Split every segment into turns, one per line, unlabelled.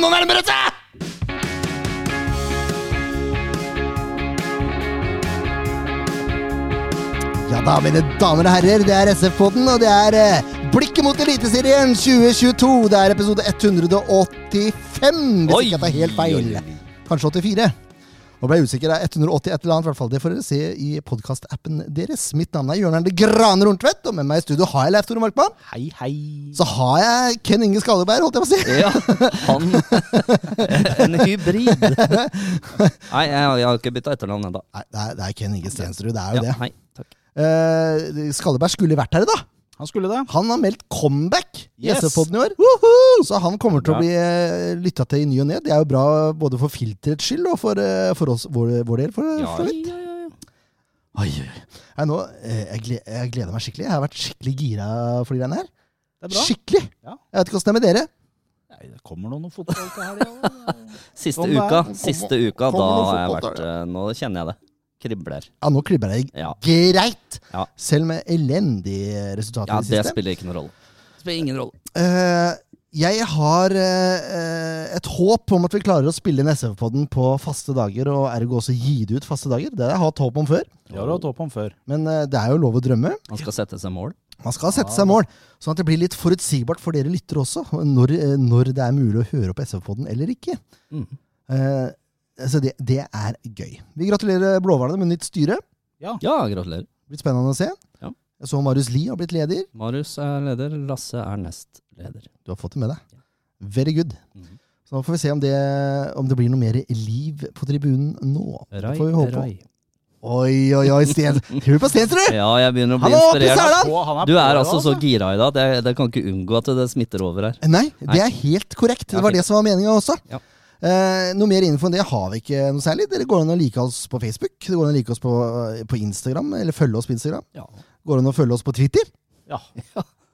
Nå nærmer det seg! Ja da, mine damer og herrer, det er SF-podden, og det er eh, Blikket mot Eliteserien 2022. Det er episode 185, hvis
Oi,
ikke jeg tar helt feil.
oi,
Kanskje 84. Nå ble jeg usikker. Det er 180 et eller annet, i hvert fall. Det får dere se i podkastappen deres. Mitt navn er Jørn Erne Grane Rundtvedt, og med meg i studio har jeg Leif Tore Markmann.
Hei, hei.
Så har jeg Ken Inge Skalleberg, holdt jeg på å si.
Ja, han En hybrid. Nei, jeg, jeg har ikke bytta etternavn ennå.
Nei, det er, det er Ken Inge Stensrud, det er jo
Ja,
det.
hei, takk.
Eh, Skalleberg skulle vært her i dag.
Han skulle det.
Han har meldt comeback i
Yes.
SF-podden i år. Så han kommer til å
Bra.
bli lytta til i ny og ne. Det er jo bra både for filterets skyld og for, eh, for oss, vår, vår del. For,
Ja,
for
ja,
vidt.
ja, ja.
Oi, oi, oi. Nei, nå, eh, jeg, gle- jeg gleder meg skikkelig. Jeg har vært skikkelig gira for de greiene her.
Det er bra.
Skikkelig!
Ja.
Jeg vet ikke åssen det er med dere.
Nei, det kommer noe noe fotball til helga.
Siste
Kom da,
uka,
kom,
siste uka, da
kom nå,
har jeg
fotball,
vært eh, Nå kjenner jeg det. Kribler.
Ja, nå klibber jeg
Ja.
greit!
Ja.
Selv med elendige resultater
ja,
i
det
det siste.
spiller ikke noen rolle. Spiller ingen rolle.
Eh, jeg har eh, et håp om at vi klarer å spille inn SF-podden på faste dager, og ergo også gi det ut faste dager. Det har jeg hatt håp om før.
Det har du hatt håp om før.
Men eh, det er jo lov å drømme.
Han skal sette seg mål.
Man skal sette seg mål, sånn at det blir litt forutsigbart for dere lyttere også, når, eh, når det er mulig å høre opp SV-podden eller ikke.
Mm.
Eh, så det, det er gøy. Vi gratulerer Blåhvalene med nytt styre. Det
Ja, gratulerer.
blir spennende å se.
Ja.
Jeg så Marius Lie har blitt leder.
Marius er leder, Lasse er nest leder.
Du har fått det med deg. Very good.
Mhm.
Så nå får vi se om det, om det blir noe mer liv på tribunen nå.
Rai,
det får vi håpe.
rai.
Oi, oi, oi, Sten. Hør på Stensrud!
Ja, jeg begynner å bli
Han er oppe i
inspirert.
sela!
Å, han
Du
på
er
det,
altså så
altså.
gira i dag. Det, det kan ikke unngå at det smitter over her.
Nei, det
Nei.
er helt korrekt. Det
Ja,
var
fint.
det som var meninga også.
Ja.
Eh, noe mer info enn det har vi ikke noe særlig. Dere går an å like oss på Facebook, det går an å like oss på, eh, på Instagram, eller følge oss på Instagram.
Ja.
Går an å følge oss på Twitter.
Ja,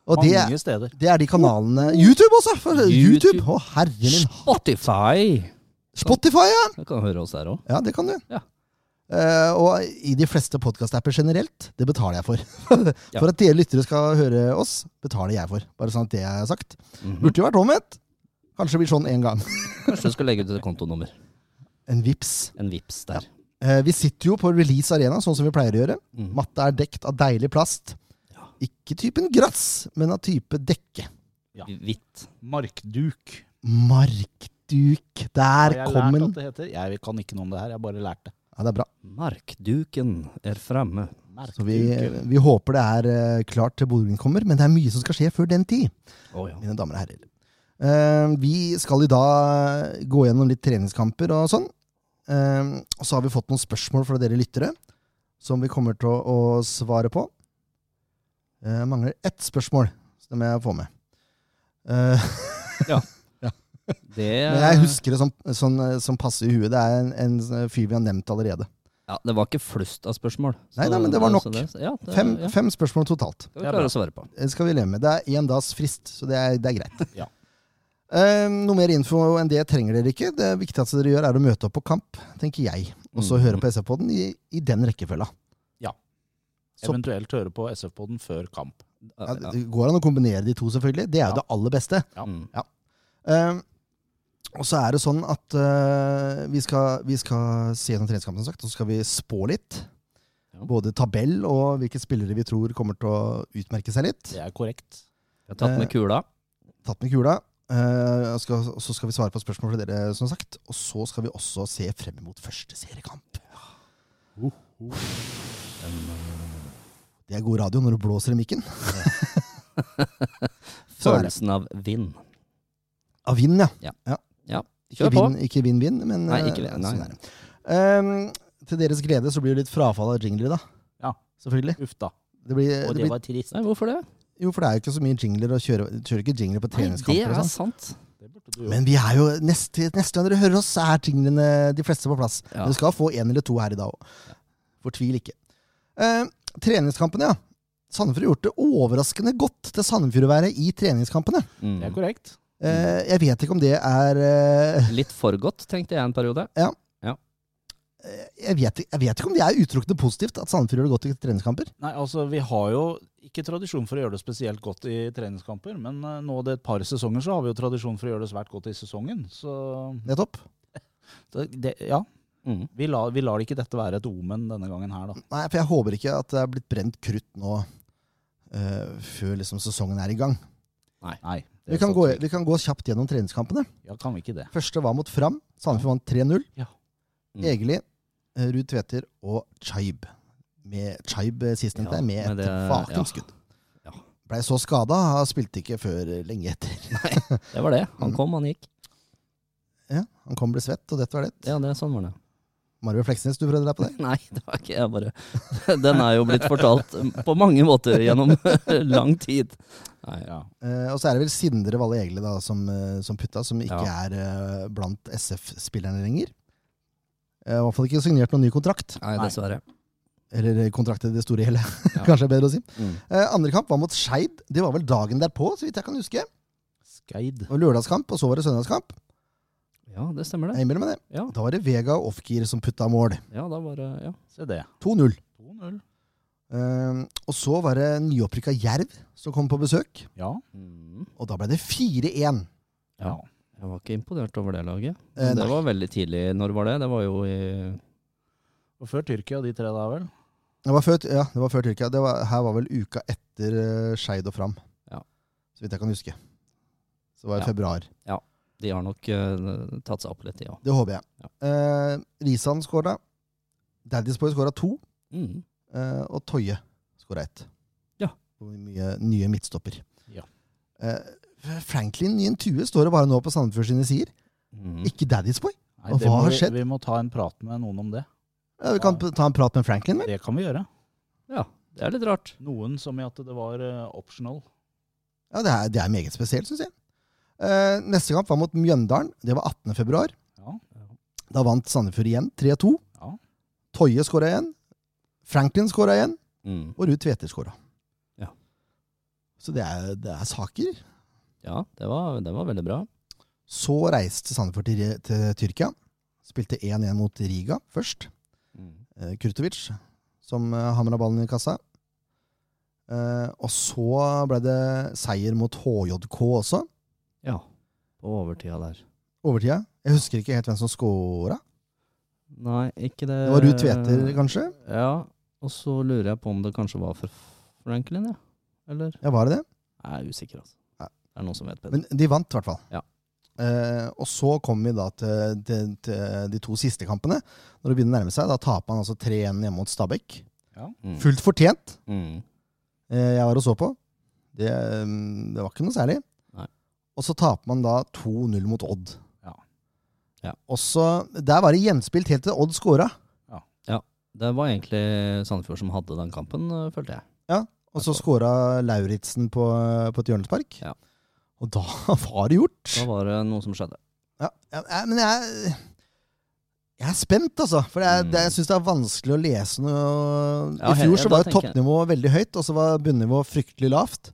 Og det,
mange steder.
det er de kanalene YouTube også! For YouTube!
YouTube.
Å, herre min.
Spotify!
Spotify, ja!
Du kan høre oss der òg.
Ja, det kan du.
Ja.
Eh, og i de fleste podkast-apper generelt. Det betaler jeg for. for at dere lyttere skal høre oss, betaler jeg for. Bare sånn at det er sagt.
Mhm.
Burde jo vært omvendt. Kanskje det blir sånn en gang.
Kanskje du skal legge ut et kontonummer.
En vips.
En vips der.
Eh, vi sitter jo på Release Arena, sånn som vi pleier å gjøre.
Mhm.
Matta er dekt av deilig plast. Ikke typen grass, men av type dekke.
Ja.
Hvitt.
Markduk.
Markduk.
Har
Der
jeg
kom
lært
den.
at det heter? Jeg kan ikke noe om det her, jeg bare lærte det.
Ja, det er bra.
Markduken er fremme.
Merkduk.
Så vi, vi håper det er eh, klart til Bodø Glimt kommer, men det er mye som skal skje før den tid.
Å ja.
mine damer og herrer. Eh, vi skal i dag eh, gå gjennom litt treningskamper og sånn. Eh, og så har vi fått noen spørsmål fra dere lyttere som vi kommer til å, å svare på. Eh, Jeg mangler ett spørsmål, så det må jeg få med. Eh,
Det,
men jeg husker det som, sånn, eh, som passer i huet. Det er en, en fyr vi har nevnt allerede.
ja, det var ikke flust av spørsmål. Så-
Nei, nei, men det var nok.
så det- Ja, det,
Fem,
ja.
fem spørsmål totalt.
Det klarer å svare på.
Det skal vi leve med. Det er én dags frist, så det er, det er greit.
Ja.
Eh, noe mer info enn det trenger dere ikke. Det viktigste dere gjør, er å møte opp på kamp, tenker jeg. Og så
Mm.
høre på SF-podden i, i den rekkefølga. så-
Eventuelt høre på SF-poden før kamp.
Ja,
Ja,
ja.
det går an å kombinere de to, selvfølgelig. Det er jo
Ja.
det aller beste.
Ja.
Mm.
Eh, og så er det sånn at eh, vi, skal, vi skal se gjennom treningskampen, som sagt. Og så skal vi spå litt.
Ja.
Både tabell og hvilke spillere vi tror kommer til å utmerke seg litt.
Det er korrekt.
Jeg har
Eh,
tatt med kula.
tatt med kula. eh, og skal, og så skal vi svare på spørsmål fra dere, som sagt. Og så skal vi også se frem mot første seriekamp.
Uh,
Det er god radio når du blåser i mikken. Sånn er det.
Følelsen av vind.
Av vinden, ja. Ikke
Kjør på.
vinn- Ikke vinn-vinn, men
Nei,
eh,
ikke vinn, nei.
sånn er det. Ehm, til deres glede så blir det litt frafall av jingler, da.
Ja.
Selvfølgelig.
Uff da.
Det blir,
Og
det
det
blir,
var trist.
Nei, hvorfor det?
jo, for det er jo ikke så mye jingler, og kjører, kjører ikke jingler på
Nei, det
treningskamper. og
er
sånn.
sant.
Det burde du jo.
Men vi er jo neste, neste gang dere hører oss, så er tingene de fleste på plass.
Ja.
Dere skal få én eller to her i dag òg. Fortvil ikke. Eh, treningskampene, ja. Sandefjord har gjort det overraskende godt til Sandefjord å være i treningskampene.
Det
Mm.
er korrekt.
Eh, jeg vet ikke om det er eh,
Litt for godt, tenkte jeg en periode.
eh, jeg vet, jeg vet ikke om det er utelukkende positivt at Sandefjord gjør det godt i treningskamper.
Nei, altså Vi har jo ikke tradisjon for å gjøre det spesielt godt i treningskamper, men eh, nå det et par sesonger så har vi jo tradisjon for å gjøre det svært godt i sesongen. Så
Nettopp.
det, det, ja,
Mm.
vi, la, vi lar ikke dette være et omen denne gangen her, da.
Nei, for jeg håper ikke at det er blitt brent krutt nå eh, før liksom sesongen er i gang.
Nei. det
Vi kan,
står
gå,
til.
vi kan gå kjapt gjennom treningskampene.
Ja, kan vi ikke det?
Første var mot Fram. Sandefjord vant 3-0.
Ja.
Mm.
Egeli, eh, Ruud Tveter og Chaib. Med Chaib eh, sistnevnte
Ja,
med et
men det-
vakent
ja.
skudd.
Ja.
Blei så skada, spilte ikke før eh, lenge etter.
Det var det. Han kom, han gikk.
Ja, han kom ble svett, og dette var det.
Ja, det, sånn var det.
Mario Fleksnes, du prøvde deg på det?
Nei, det var ikke jeg bare. Den er jo blitt fortalt på mange måter gjennom lang tid. Nei,
Ja.
Eh, og så er det vel Sindre Valle Egeli da, som, eh, som putta, som ikke
Ja.
er eh, blant SF-spillerne lenger. Eh, I hvert fall ikke signert noen ny kontrakt.
Nei dessverre.
Eller kontrakt i det store hele,
Ja.
kanskje er bedre å si.
Mm.
Eh, andre kamp var mot Skeid. Det var vel dagen derpå, så vidt jeg kan huske.
Skeid.
Og lørdagskamp, og så var det søndagskamp.
Ja, det stemmer det.
Jeg innbiller meg det.
Ja,
Da var det Vega og Ofgir som putta mål.
ja da var det ja.
Se det.
2-0.
2-0.
Eh, og så var det nyopprykka Jerv som kom på besøk,
Ja.
Mm.
og da ble det 4-1.
ja.
Ja. Jeg var ikke imponert over det laget.
Eh,
det
nei.
var veldig tidlig. Når var det? Det var jo i
Og før Tyrkia, de tre der, vel?
Det var før, ja, det var før Tyrkia. Det var, her var vel uka etter uh, Skeid og Fram.
Ja.
Så vidt jeg kan huske. Så var det
Ja.
februar.
De har nok eh, tatt seg opp litt, ja.
Det håper jeg. Eh, Risan skåra. Daddy's Boy skåra to.
Mm.
eh, og Toye skåra ett.
Ja.
Og mye nye midtstopper.
Ja.
Eh, Franklin i en tue står det bare nå på Sandefjord sine sider.
Mm.
Ikke Daddy's Boy.
Nei,
Og
det
hva
må
har
vi-
skjedd?
Vi må ta en prat med noen om det.
Ja, vi kan
Ja.
ta en prat med Franklin, vel?
Det kan vi gjøre.
Ja, det er litt rart.
Noen som i at det var eh, optional.
Ja, det er, det er meget spesielt, syns jeg. Eh, neste kamp var mot Mjøndalen. Det var 18. februar.
Ja.
Da vant Sandefjord igjen 3-2.
Ja.
Toye skåra igjen. Franklin skåra igjen.
Mm.
Og Ruud Tveter skåra.
Ja.
Så det er, det er saker.
Ja, det var, det var veldig bra.
Så reiste Sandefjord til, til Tyrkia. Spilte 1-1 mot Riga først.
Mm.
Eh, Kurtovic som eh, hamra ballen i kassa. Eh, og så ble det seier mot HJK også.
Ja. På overtida der.
Overtida. Jeg husker ikke helt hvem som scora.
Nei, ikke det
Det var Ruud Tveter, kanskje?
Ja, og så lurer jeg på om det kanskje var for Franklin, ja. Eller?
Ja, var det det?
Jeg er usikker, altså.
Ja.
Det er noen som vet bedre.
Men de vant, i hvert fall.
Ja.
Eh, og så kommer vi da til, til, til de to siste kampene. Når det begynner å nærme seg, da taper man altså 3-1 hjemme mot Stabæk.
Mm.
Fullt fortjent.
Mm.
eh, jeg var og så på. Det, mm, det var ikke noe særlig.
Nei.
Og så taper man da 2-0 mot Odd.
Ja.
Ja.
Og så, Der var det gjenspilt helt til Odd scora.
Det var egentlig Sandefjord som hadde den kampen, øh, følte jeg.
Og så scora Lauritzen på, på et hjørnespark.
Ja.
Og da var det gjort.
Da var det noe som skjedde.
Ja, ja, jeg- men jeg jeg er spent, altså. For jeg,
Mm.
det, jeg syns det er vanskelig å lese noe
Ja,
I fjor
he-
så
ja, da
var jo
tenker jeg.
toppnivået veldig høyt, og så var bunnivået fryktelig lavt.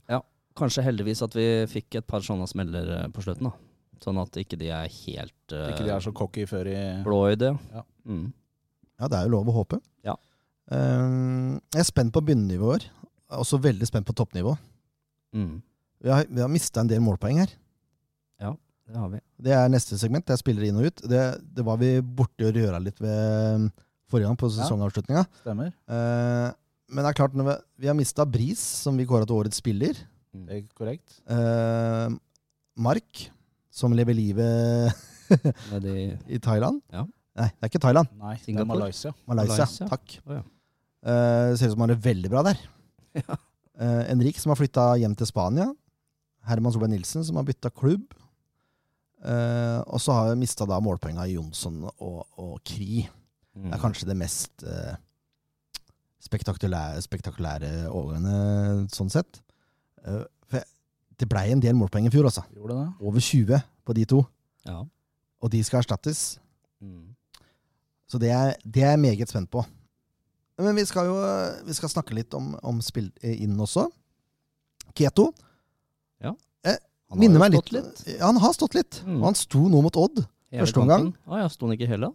Kanskje heldigvis at vi fikk et par sånne smeller øh, på slutten, da. Sånn at ikke de er helt øh,
Ikke de er så cocky før i
blå i det.
Ja.
Mm.
Ja, det er jo lov å håpe.
Ja.
Ehm, jeg er spent på bunnivåer. Også veldig spent på toppnivå.
Mm.
Vi har, vi har mista en del målpoeng her.
Det har vi.
Det er neste segment. Det er spillere inn og ut. Det, det var vi borti og røra litt ved forrige gang, på
Ja.
sesongavslutninga.
Stemmer.
Ehm, men det er klart, når vi, vi har mista Bris, som vi kåra til årets spiller.
Mm.
Det er korrekt.
Eh, Mark, som lever livet
Med de
i Thailand.
Ja.
Nei, det er ikke Thailand.
Nei, det er
Singapore?
Malaysia.
Malaysia.
Malaysia.
Takk.
Å, ja.
Eh, ser ut som han har det veldig bra der.
Ja.
Eh, Henrik, som har flytta hjem til Spania. Herman Solberg Nilsen, som har bytta klubb. Eh, og så har vi mista da målpoenga i Jonsson og, og Kri.
mm.
Det er kanskje det mest eh, spektakulære, spektakulære overgangene, sånn sett. Eh, for jeg- det blei en del målpoeng i fjor, altså.
Gjorde det?
Over 20 på de to.
Ja.
og de skal erstattes.
Mm.
Så det er, det er jeg meget spent på. Men vi skal jo vi skal snakke litt om, om spill eh, inn også. Keto Eh,
Han har
minner
jo
meg litt,
stått litt.
Ja, han har stått litt.
Mm.
Og han sto nå mot Odd.
Hele
Første omgang.
kampen. Å ja, sto han ikke hele? da?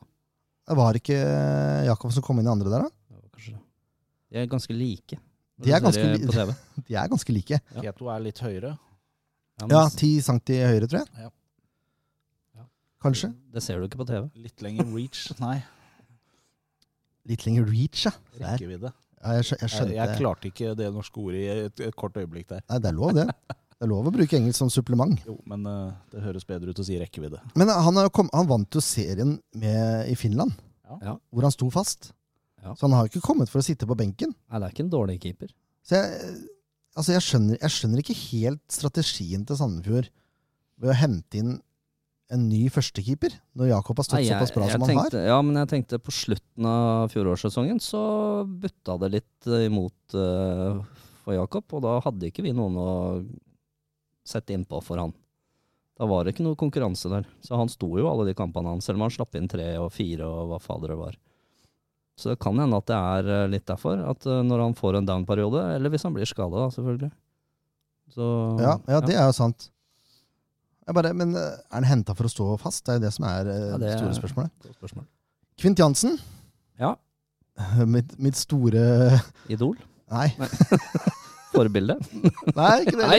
Det var ikke eh, Jakob som kom inn i andre der, da?
Det var kanskje det. De er ganske like. Når
De er
du ser
ganske
det på TV.
De er ganske like.
Ja.
Keto er litt høyere.
Ja, men
Ja,
s-
10 cm høyere, tror jeg.
Ja. Ja.
Kanskje.
Det ser du ikke på TV.
Litt lenger reach. Nei,
Litt lenger reach, ja. Der.
rekkevidde.
ja jeg, skjø- jeg
Jeg,
skjønte
jeg klarte ikke det norske ordet i et, et kort øyeblikk der.
Nei, det er lov, det. Det er lov å bruke engelsk som supplement.
Jo, men eh, det høres bedre ut å si rekkevidde.
Men han, har jo kom, han vant jo serien med, i Finland,
Ja.
Ja.
hvor han sto fast.
Ja.
Så han har jo ikke kommet for å sitte på benken.
Nei, det er ikke en dårlig keeper.
Så jeg, altså jeg, skjønner, jeg skjønner ikke helt strategien til Sandefjord ved å hente inn en ny førstekeeper, når Jakob har stått
Nei,
såpass bra
jeg
som han har.
tenkte, Ja, men jeg tenkte på slutten av fjorårssesongen så butta det litt eh, imot eh, for Jakob, og da hadde ikke vi noen å sette innpå for han. Da var det ikke noe konkurranse der. Så han sto jo alle de kampene han, selv om han slapp inn tre og fire og hva fader det var. Så det kan hende at det er eh, litt derfor, at eh, når han får en down-periode, eller hvis han blir skada, selvfølgelig. Så,
Ja, ja, det er jo sant. Jeg bare, men eh, er han henta for å stå fast? Det er jo det som er eh,
Ja,
det
det
store
er-
spørsmålet.
Godt spørsmål.
Kvint Jansen,
Ja,
mitt, mitt store
idol.
Nei,
Forbilde.
nei ikke det.
Nei,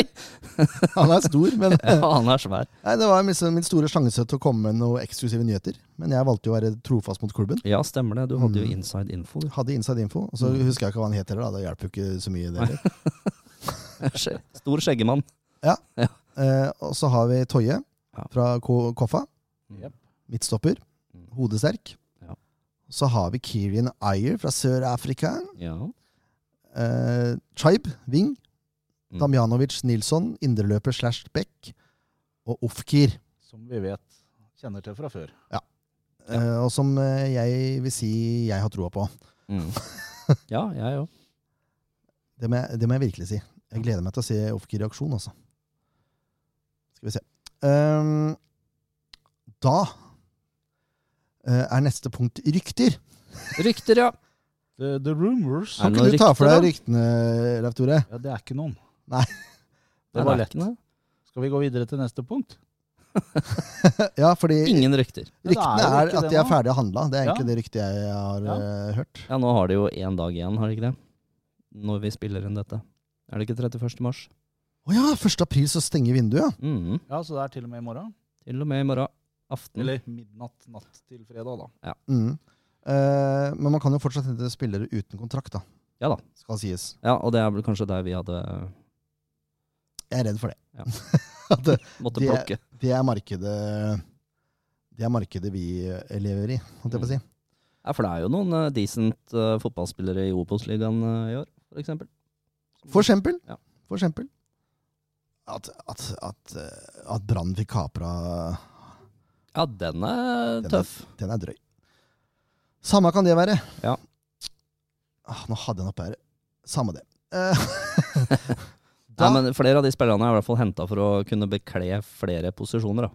Han er stor, men
ja, han er svær.
nei, det var liksom min store sjanse til å komme med noen eksklusive nyheter. Men jeg valgte jo å være trofast mot klubben.
Ja, stemmer det. Du hadde jo
Mm.
inside info. du.
Hadde inside info. Og
Mm.
så husker jeg ikke hva han het heller, da. Det hjelper jo ikke så mye. det heller.
Skje- Stor skjeggemann.
Eh, og så har vi Toje
Ja.
fra Ko Koffa. Mm.
Jep.
Midtstopper.
Mm.
Hodesterk.
Ja.
Så har vi Kirian Ayer fra Sør-Afrika.
Ja.
Eh, Tribe, Wing.
Mm.
Damjanovic Nilsson, indreløper slash back. Og Ofkir.
Som vi vet kjenner til fra før.
Eh, og som eh, jeg vil si jeg har troa på.
Mm. ja, jeg òg.
Det må, jeg, det må jeg virkelig si. Jeg gleder meg til å se Ofkir i aksjon, altså. Skal vi se. Ehm, da eh, er neste punkt rykter.
Rykter, ja.
The, the rumors.
Er
Kan
det
ikke
noen
du ta for
rykter,
deg ryktene, Leif Tore?
Ja, det er ikke noen.
Nei.
Det
Nei,
var
er
lett.
ikke noe.
Skal vi gå videre til neste punkt?
Ja, fordi
Ingen rykter.
Ja, det er
ryktene
jo
er
ikke
at
det
de er
nå.
ferdig handla. Det er
Ja.
egentlig det ryktet jeg har eh, hørt.
Ja, nå har de jo én dag igjen, har de ikke det? Når vi spiller inn dette. Er det ikke 31. mars?
Å ja, 1. april så stenger vinduet, ja.
Mm.
Ja, så det er til og med i morgen.
Til og med i morgen aften.
Eller midnatt natt til fredag, da.
Mm. Eh, men man kan jo fortsatt hente spillere uten kontrakt, da.
Ja da.
Skal sies.
Ja, og det er vel kanskje der vi hadde
Jeg er redd for det.
Ja.
At det,
måtte
Det-
plukke.
det er markedet Det er markedet vi eh, lever i, holdt jeg på å
Mm.
si.
Ja, for det er jo noen eh, decent eh, fotballspillere i Obos-ligaen eh, i år, for eksempel.
For eksempel.
Ja.
For eksempel. At, at, at, eh, at Brann fikk kapra
Ja, den er
Den er-
tøff.
Den er drøy. Samme kan det være.
Ja.
Ah, nå hadde jeg den oppe her. Samme det. Eh, da,
Nei, men flere av de spillerne er i hvert fall henta for å kunne bekle flere posisjoner, da.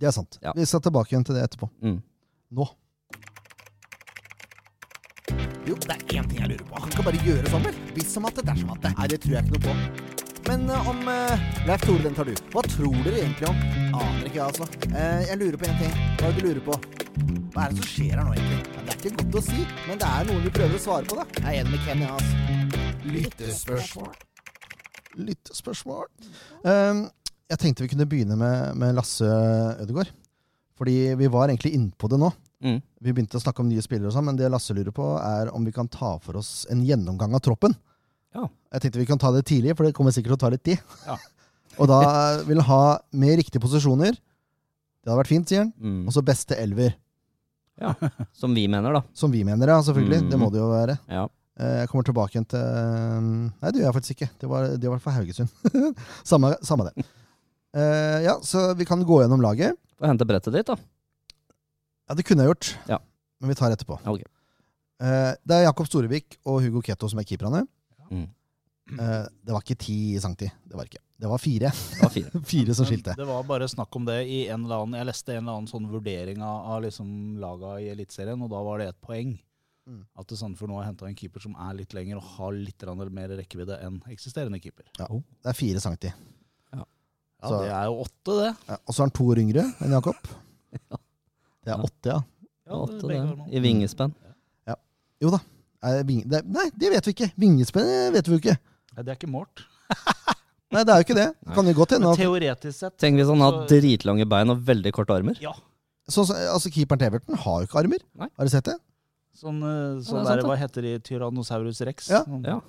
det er sant.
Ja.
Vi skal tilbake igjen til det etterpå.
Mm.
Nå. Jo, det er én ting jeg lurer på. Han skal bare gjøre sånn, vel? Hvis som at det dersom at det. Nei, det tror jeg ikke noe på. Men eh, om uh, Leif Tore, den tar du. Hva tror dere egentlig om? Aner ikke, jeg, altså. Eh, jeg lurer på én ting. Hva er det du lurer på? Hva er det som skjer her nå, egentlig? Ja, det er ikke godt å si, men det er noen vi prøver å svare på, da. Jeg er enig med Kenny, altså. Lyttespørsmål. Lyttespørsmål. Um, jeg tenkte vi kunne begynne med, med Lasse Ødegaard. Fordi vi var egentlig innpå det nå.
Mm.
Vi begynte å snakke om nye spillere, og sånn, men det Lasse lurer på, er om vi kan ta for oss en gjennomgang av troppen.
Ja.
Jeg tenkte vi kan ta det tidlig, for det kommer sikkert til å ta litt tid.
Ja.
og da vil han ha med riktige posisjoner. Det hadde vært fint, sier han.
Mm.
Og så beste elver.
Som vi mener, da.
Som vi mener, ja, selvfølgelig.
Mm.
Det må det jo være.
Ja.
Eh, Jeg kommer tilbake igjen til eh, Nei, det gjør jeg faktisk ikke. Det var, det var for Haugesund. samme, samme det. Eh, ja, så vi kan gå gjennom laget.
Få hente brettet ditt, da.
Ja, det kunne jeg gjort.
Ja.
Men vi tar etterpå.
Ja, ok.
Eh, det er Jakob Storevik og Hugo Keto som er keeperne.
Mm.
Eh, det var ikke ti centi. Det var ikke. Det var fire.
Det var fire.
Fire som
Men
skilte.
Det var bare snakk om det i en eller annen Jeg leste en eller annen sånn vurdering av, av liksom laga i Eliteserien, og da var det et poeng.
Mm.
At Sandefjord nå har henta en keeper som er litt lenger og har litt grann mer rekkevidde enn eksisterende keeper.
Det er fire centi.
Ja,
Så-
Det er jo åtte, det.
Ja, og så er han to år yngre enn Jakob.
Ja.
Det er åtte, ja.
på en
det er
måte,
begge
det,
hormon.
I vingespenn.
Er det ving- det er- Nei, det vet vi ikke. Vingespenn eh, vet vi jo ikke.
Nei, det er ikke målt.
Nei, det er jo ikke det. Det Kan jo godt hende
Men
at
teoretisk sett
Tenk hvis han har
Så-
dritlange bein og veldig korte armer.
Ja.
sånn som- altså, Keeperen til Everton har jo ikke armer.
Nei.
Har du sett det?
Sånn, eh, sånn
sant,
der,
det.
hva heter de? Tyrannosaurus rex?
Ja.
Sånn.
Ja.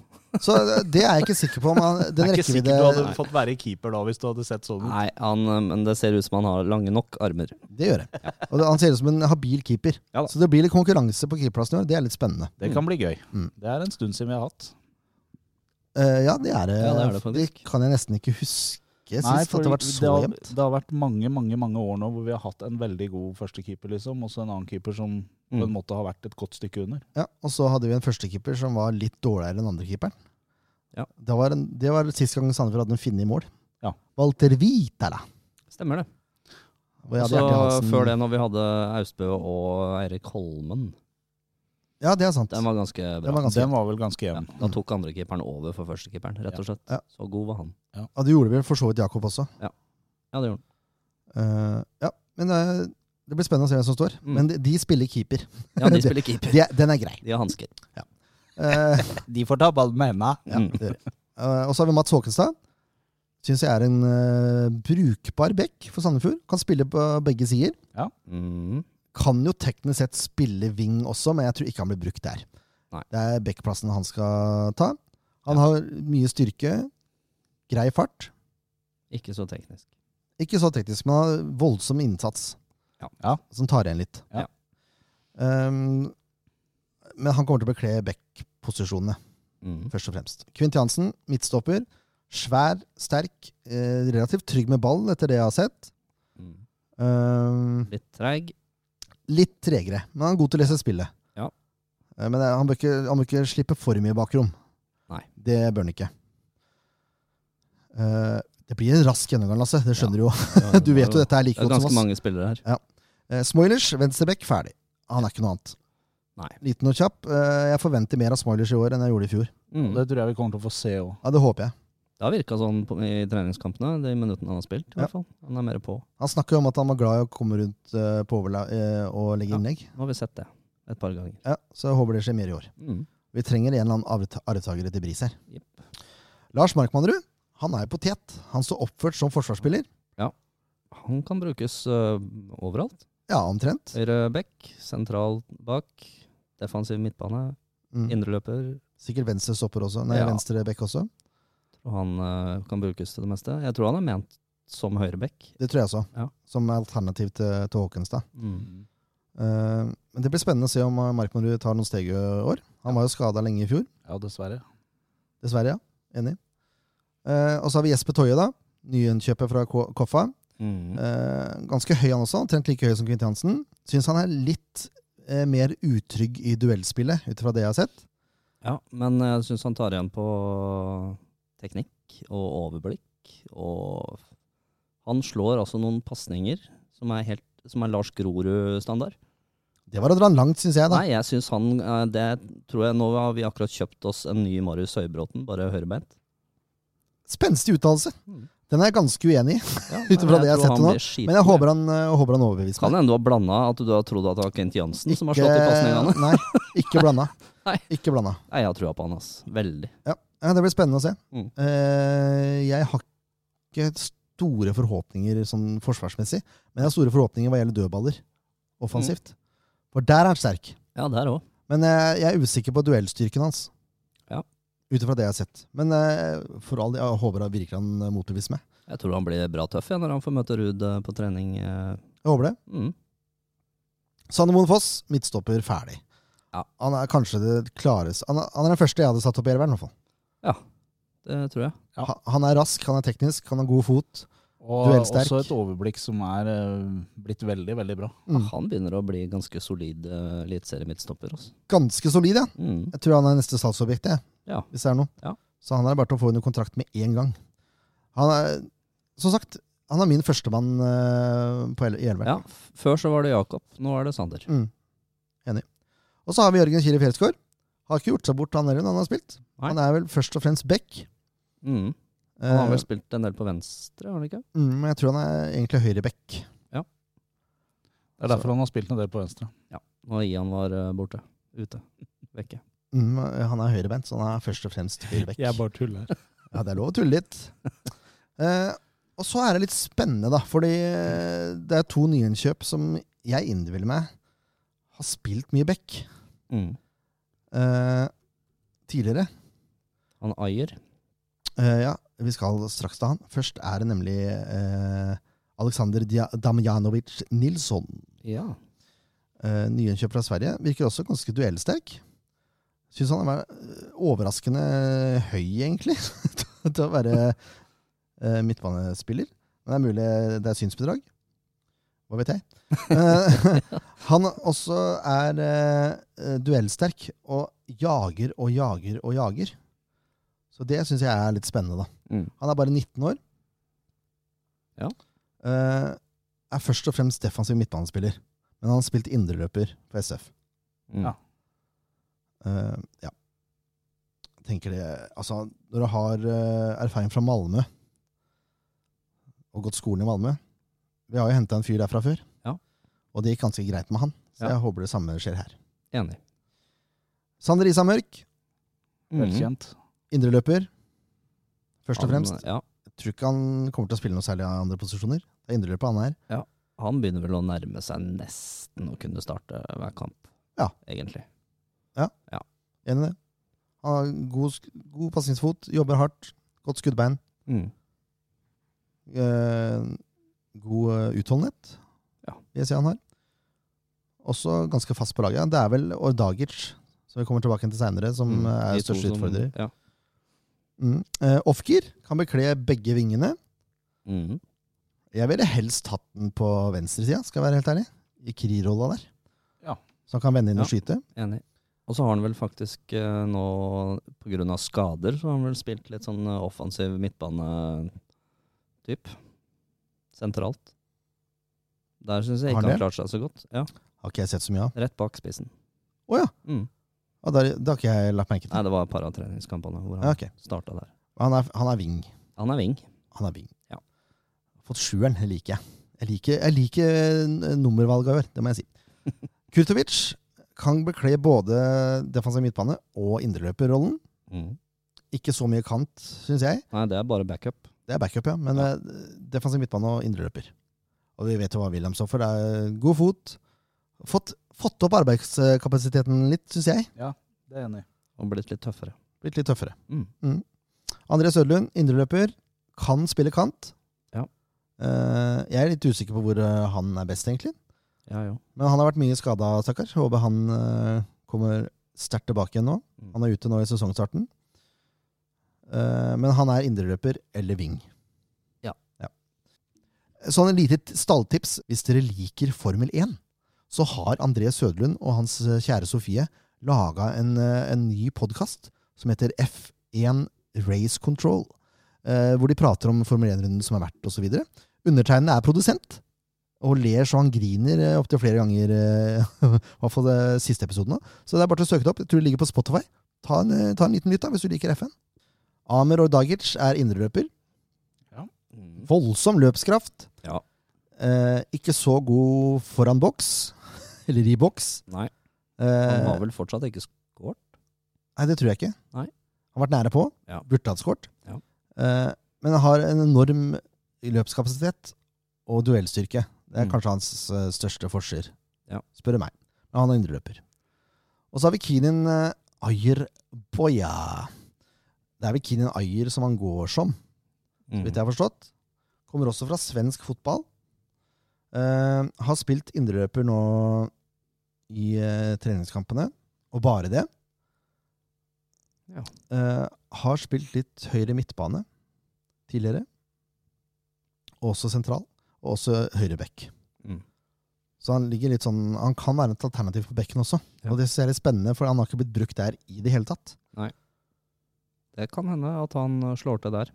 Så eh, det er jeg ikke sikker på om han, den
Det er ikke sikkert du
rekkevidde
hadde fått være keeper da hvis du hadde sett sånn ut.
Nei, han, eh, men det ser ut som han har lange nok armer.
Det gjør jeg. Og det, han ser ut som en habil keeper.
Ja da.
så det blir litt konkurranse på keeperplassen i år. Det er litt spennende.
Det kan bli gøy.
Mm.
Det er en stund siden vi har hatt.
Eh, ja, det er det.
Ja, det er det faktisk.
kan jeg nesten ikke huske sist. at det har vært
det,
så
har,
jevnt.
det har vært mange mange, mange år nå hvor vi har hatt en veldig god førstekeeper, liksom, og så en annen keeper som på en
Mm.
måte har vært et godt stykke under.
Ja, og så hadde vi en førstekeeper som var litt dårligere enn andrekeeperen.
Ja.
Det var, en, det var sist gang Sandefjord hadde en finne i mål.
Ja.
Walter Vitala.
Stemmer det.
Og jeg hadde
Så
Hjertelig Hansen.
Altså, før det, når vi hadde Austbø og Eirik Holmen,
Ja, det er sant.
den var ganske bra.
Den var ganske
Den var vel ganske jevn.
Da tok andrekeeperen over for førstekeeperen, rett og slett.
Ja.
Så god var han.
Ja, du gjorde vel for så vidt Jakob også.
Ja, det gjorde han.
Eh, ja, men eh, det blir spennende å se hvem som står.
Mm.
Men de, de spiller keeper.
Ja, de spiller keeper.
De er, den er grei.
De har hansker.
Eh,
De får ta ballen med henda.
ja,
Mm.
det gjør vi. Eh, og så har vi Mats Håkenstad. Syns jeg er en eh, brukbar back for Sandefjord. Kan spille på begge sider.
Mm.
Kan jo teknisk sett spille wing også, men jeg tror ikke han blir brukt der.
Nei.
Det er backplassen han skal ta. Han har mye styrke, grei fart.
Ikke så teknisk.
Ikke så teknisk, men han har voldsom innsats.
Ja.
Ja.
Som tar igjen litt.
Ja.
Um, men han kommer til å bekle back-posisjonene,
Mm.
først og fremst. Kvintjansen, midtstopper. Svær, sterk, eh, relativt trygg med ballen, etter det jeg har sett.
Mm.
Um,
Litt treig.
litt tregere, men han er god til å lese spillet.
Ja.
Eh, Men det- han bør, ikke, han bør ikke slippe for mye bakrom.
Nei.
Det bør han ikke. Eh, det blir en rask gjennomgang, Lasse. Det skjønner du jo. Du vet jo dette er like
Det er
godt som
ganske
oss.
mange spillere her.
Eh, Smoilers, venstreback, ferdig. Han er ikke noe annet.
Nei.
Liten og kjapp. Eh, jeg forventer mer av Smoilers i år enn jeg gjorde i fjor.
Mm.
Det tror jeg vi kommer til å få se òg.
Ja, Det håper jeg.
Det har virka sånn på, i treningskampene, de minuttene han har spilt. i hvert fall. Han er mer på.
Han snakker jo om at han var glad i å komme rundt eh, på overla eh, og legge
Ja.
innlegg.
Nå har vi sett det et par ganger.
Ja, så jeg håper det skjer mer i år.
Mm.
Vi trenger en eller annen arvt- arvtaker til Bris her.
Jepp.
Lars Markmannrud han er jo potet. Han står oppført som forsvarsspiller.
Han kan brukes ø, overalt.
Ja, omtrent.
Høyre back, sentral bak, defensiv midtbane,
Mm.
indreløper.
Sikkert venstre stopper også. Nei,
Ja.
venstre bekk også.
Og han ø, kan brukes til det meste. Jeg tror han er ment som høyre back.
Det tror jeg også.
Ja.
Som alternativ til, til Håkenstad.
Mm.
Eh, men det blir spennende å se om eh, Markmannrud tar noen steg i år. Han var jo skada lenge i fjor.
Ja, dessverre.
Dessverre, ja. Enig. Eh, og så har vi Jesper Toje, da. Nyinnkjøpet fra Ko- Koffa.
Mm.
Eh, ganske høy, han også. Omtrent like høy som Kvintjansen. Syns han er litt eh, mer utrygg i duellspillet, ut fra det jeg har sett.
Ja, men eh, jeg syns han tar igjen på teknikk og overblikk. Og han slår altså noen pasninger som er, helt, som er Lars Grorud-standard.
Det var å dra han langt, syns jeg, da.
Nei, jeg syns han eh, Det tror jeg Nå har vi akkurat kjøpt oss en ny Marius Høybråten, bare høyrebeint.
Spenstig uttalelse.
Mm.
Den er jeg ganske uenig i,
Ja,
ut ifra det jeg har sett til nå. Men jeg håper han, eh, håper han overbeviser
Kan
meg.
hende du har blanda at du har trodd at det var Kent Jansen som har slått i pasningene.
Nei, ikke blanda.
Nei.
Ikke blanda.
Nei, jeg har trua på han, ass. Veldig.
Ja. ja, det blir spennende å se.
Mm.
Eh, jeg har ikke store forhåpninger sånn forsvarsmessig, men jeg har store forhåpninger hva gjelder dødballer offensivt.
Mm.
For der er han sterk.
Ja, der òg.
Men eh, jeg er usikker på duellstyrken hans.
Ja.
Ut ifra det jeg har sett. Men eh, for all del, jeg håper han virkelig han eh, motbeviser meg.
Jeg tror han blir bra tøff igjen når han får møte Ruud eh, på trening. eh.
Jeg håper det.
Mm.
Sandemoen Foss, midtstopper, ferdig.
Ja.
Han er kanskje det klareste han, er- han er den første jeg hadde satt opp i elveren, i hvert fall.
Det tror jeg.
Ja.
Ha- Han er rask, han er teknisk, han har god fot.
Og
Duellsterk.
også et overblikk som er eh, blitt veldig, veldig bra.
Mm.
Han begynner å bli ganske solid eh, eliteseriemidtstopper. altså.
Ganske solid, ja.
Mm.
Jeg tror han er neste salgsobjekt, jeg.
Ja.
Hvis det er noe.
Ja.
Så han er bare til å få under kontrakt med én gang. Han er, som sagt, han er min førstemann eh, på el i
Ja,
elveren.
f- Før så var det Jakob, nå er det Sander.
Mm. Enig. Og så har vi Jørgen Kire Fjelsgaard. Har ikke gjort seg bort, han heller, når han har spilt.
Nei.
Han er vel først og fremst back.
Mm. Han har
Eh,
vel spilt en del på venstre, har han ikke?
mm, men jeg tror han er egentlig høyre back.
Det er derfor han har spilt en del på venstre.
Når Ian var eh, borte. Ute. Vekke.
Mm, han er høyrebeint, så han er først og fremst høyrebekk.
bare tuller.
Ja, det er lov å tulle litt. Eh, og så er det litt spennende, da. Fordi eh, det er to nyinnkjøp som jeg innbiller meg har spilt mye back
Mm.
eh, tidligere.
Han Ayer.
Eh, ja, vi skal straks til han. Først er det nemlig eh, Aleksander Dia- Damjanovic Nilsson.
Ja.
Eh, nyinnkjøp fra Sverige. Virker også ganske duellsterk. Syns han er eh, overraskende høy, egentlig, til å være eh, midtbanespiller. Men det er mulig eh, det er synsbedrag. Hva vet jeg. Eh, han også er eh, duellsterk og jager og jager og jager. Så det syns jeg er litt spennende, da.
Mm.
Han er bare 19 år.
Ja.
Eh, er først og fremst defensiv midtbanespiller. Men han har spilt indreløper for SF.
Mm.
Ja.
Eh, ja. Tenker det Altså, når du har eh, erfaring fra Malmö, og gått skolen i Malmö Vi har jo henta en fyr derfra før,
Ja.
og det gikk ganske greit med han. Så
Ja.
jeg håper det samme skjer her.
Enig.
Sander Isa Mørk,
Velkjent.
indreløper. Mm. Først og
Han, eh,
fremst.
Ja.
Jeg tror ikke han kommer til å spille noe særlig av andre posisjoner. Det er indreløper han er.
Han begynner vel å nærme seg nesten å kunne starte hver kamp,
Ja.
egentlig.
Enig i det. Han har god, sk- god pasningsfot, jobber hardt, godt skuddbein,
Mm.
eh, god eh, utholdenhet,
Ja.
vil jeg si han har. Også ganske fast på laget. Det er vel Ordagic, som vi kommer tilbake til seinere, som
Mm.
eh, er
De to
største
som-
utfordrer.
Ja.
Mm. Eh, Ofgir kan bekle begge vingene.
Mm.
Jeg ville helst hatt den på venstresida, skal jeg være helt ærlig. I Kri-rolla der.
Ja.
Så han kan vende inn og
Ja.
skyte.
Enig. Og så har han vel faktisk eh, nå, på grunn av skader, så har han vel spilt litt sånn eh, offensiv midtbane-typ. Sentralt. Der syns jeg
Har
ikke
han
han klarte seg så godt. Ja,
Har ikke jeg sett så mye av.
Rett bak spissen.
Å ja.
Mm.
Og der, det har ikke jeg lagt merke
Nei,
til.
det var et par av treningskampene hvor han
Ja, ok.
starta der.
Han er, han er wing.
Han er wing.
Han er wing.
Ja.
Fått sjueren, det liker jeg. Jeg liker, jeg liker n- nummervalget i år, det må jeg si. Kurtovic kan bekle både defensiv midtbane og indreløperrollen.
Mm.
Ikke så mye kant, syns jeg.
Nei, det er bare backup.
Det er backup, ja. Men eh, defensiv midtbane og indreløper. Og vi vet jo hva William står for. Det er eh, god fot. Fått, fått opp arbeidskapasiteten litt, syns jeg.
Det er jeg enig. i.
Og blitt litt tøffere.
Blitt litt tøffere.
Mm.
André Sødlund, indreløper, kan spille kant.
Ja.
Eh, jeg er litt usikker på hvor eh, han er best, egentlig.
Ja, ja.
Men han har vært mye skada, stakkar. Håper han eh, kommer sterkt tilbake igjen nå.
Mm.
Han er ute nå i sesongstarten. Eh, men han er indreløper eller wing.
Ja.
Sånn et lite t- stalltips. Hvis dere liker Formel 1, så har André Søderlund og hans eh, kjære Sofie laga en, eh, en ny podkast som heter F1 Race Control. eh, hvor de prater om Formel 1-runden som har vært, osv. Undertegnede er produsent og ler så han griner opptil flere ganger. eh, I hvert fall de siste episodene. Så det er bare til å søke det opp. Jeg tror det ligger på Spotify. Ta en, eh, ta en liten lytt da, hvis du liker FN. Amer Ordagic er indreløper.
Mm.
Voldsom løpskraft.
Ja.
Eh, ikke så god foran boks. Eller i boks.
Nei,
Eh,
han har vel fortsatt ikke scoret.
Nei, det tror jeg ikke.
Nei.
Han har vært nære på.
Ja.
Burde hatt skåret.
Ja.
Eh, men han har en enorm løpskapasitet og duellstyrke. Det er
Mm.
kanskje hans eh, største forser,
Ja.
spør du meg. Men han er indreløper. Og så har vi Kinin eh, Ayer Boya. Det er vel Kinin Ayer som han går som, så
Mm.
vidt jeg har forstått. Kommer også fra svensk fotball. Eh, har spilt indreløper nå i eh, treningskampene, og bare det.
Ja.
Eh, har spilt litt høyre midtbane tidligere. Og også sentral. Og også høyre bekk.
Mm.
Så han ligger litt sånn Han kan være et alternativ på bekken også.
Ja.
Og det synes jeg er litt spennende, for han har ikke blitt brukt der i det hele tatt.
Det kan hende at han eh, slår til der.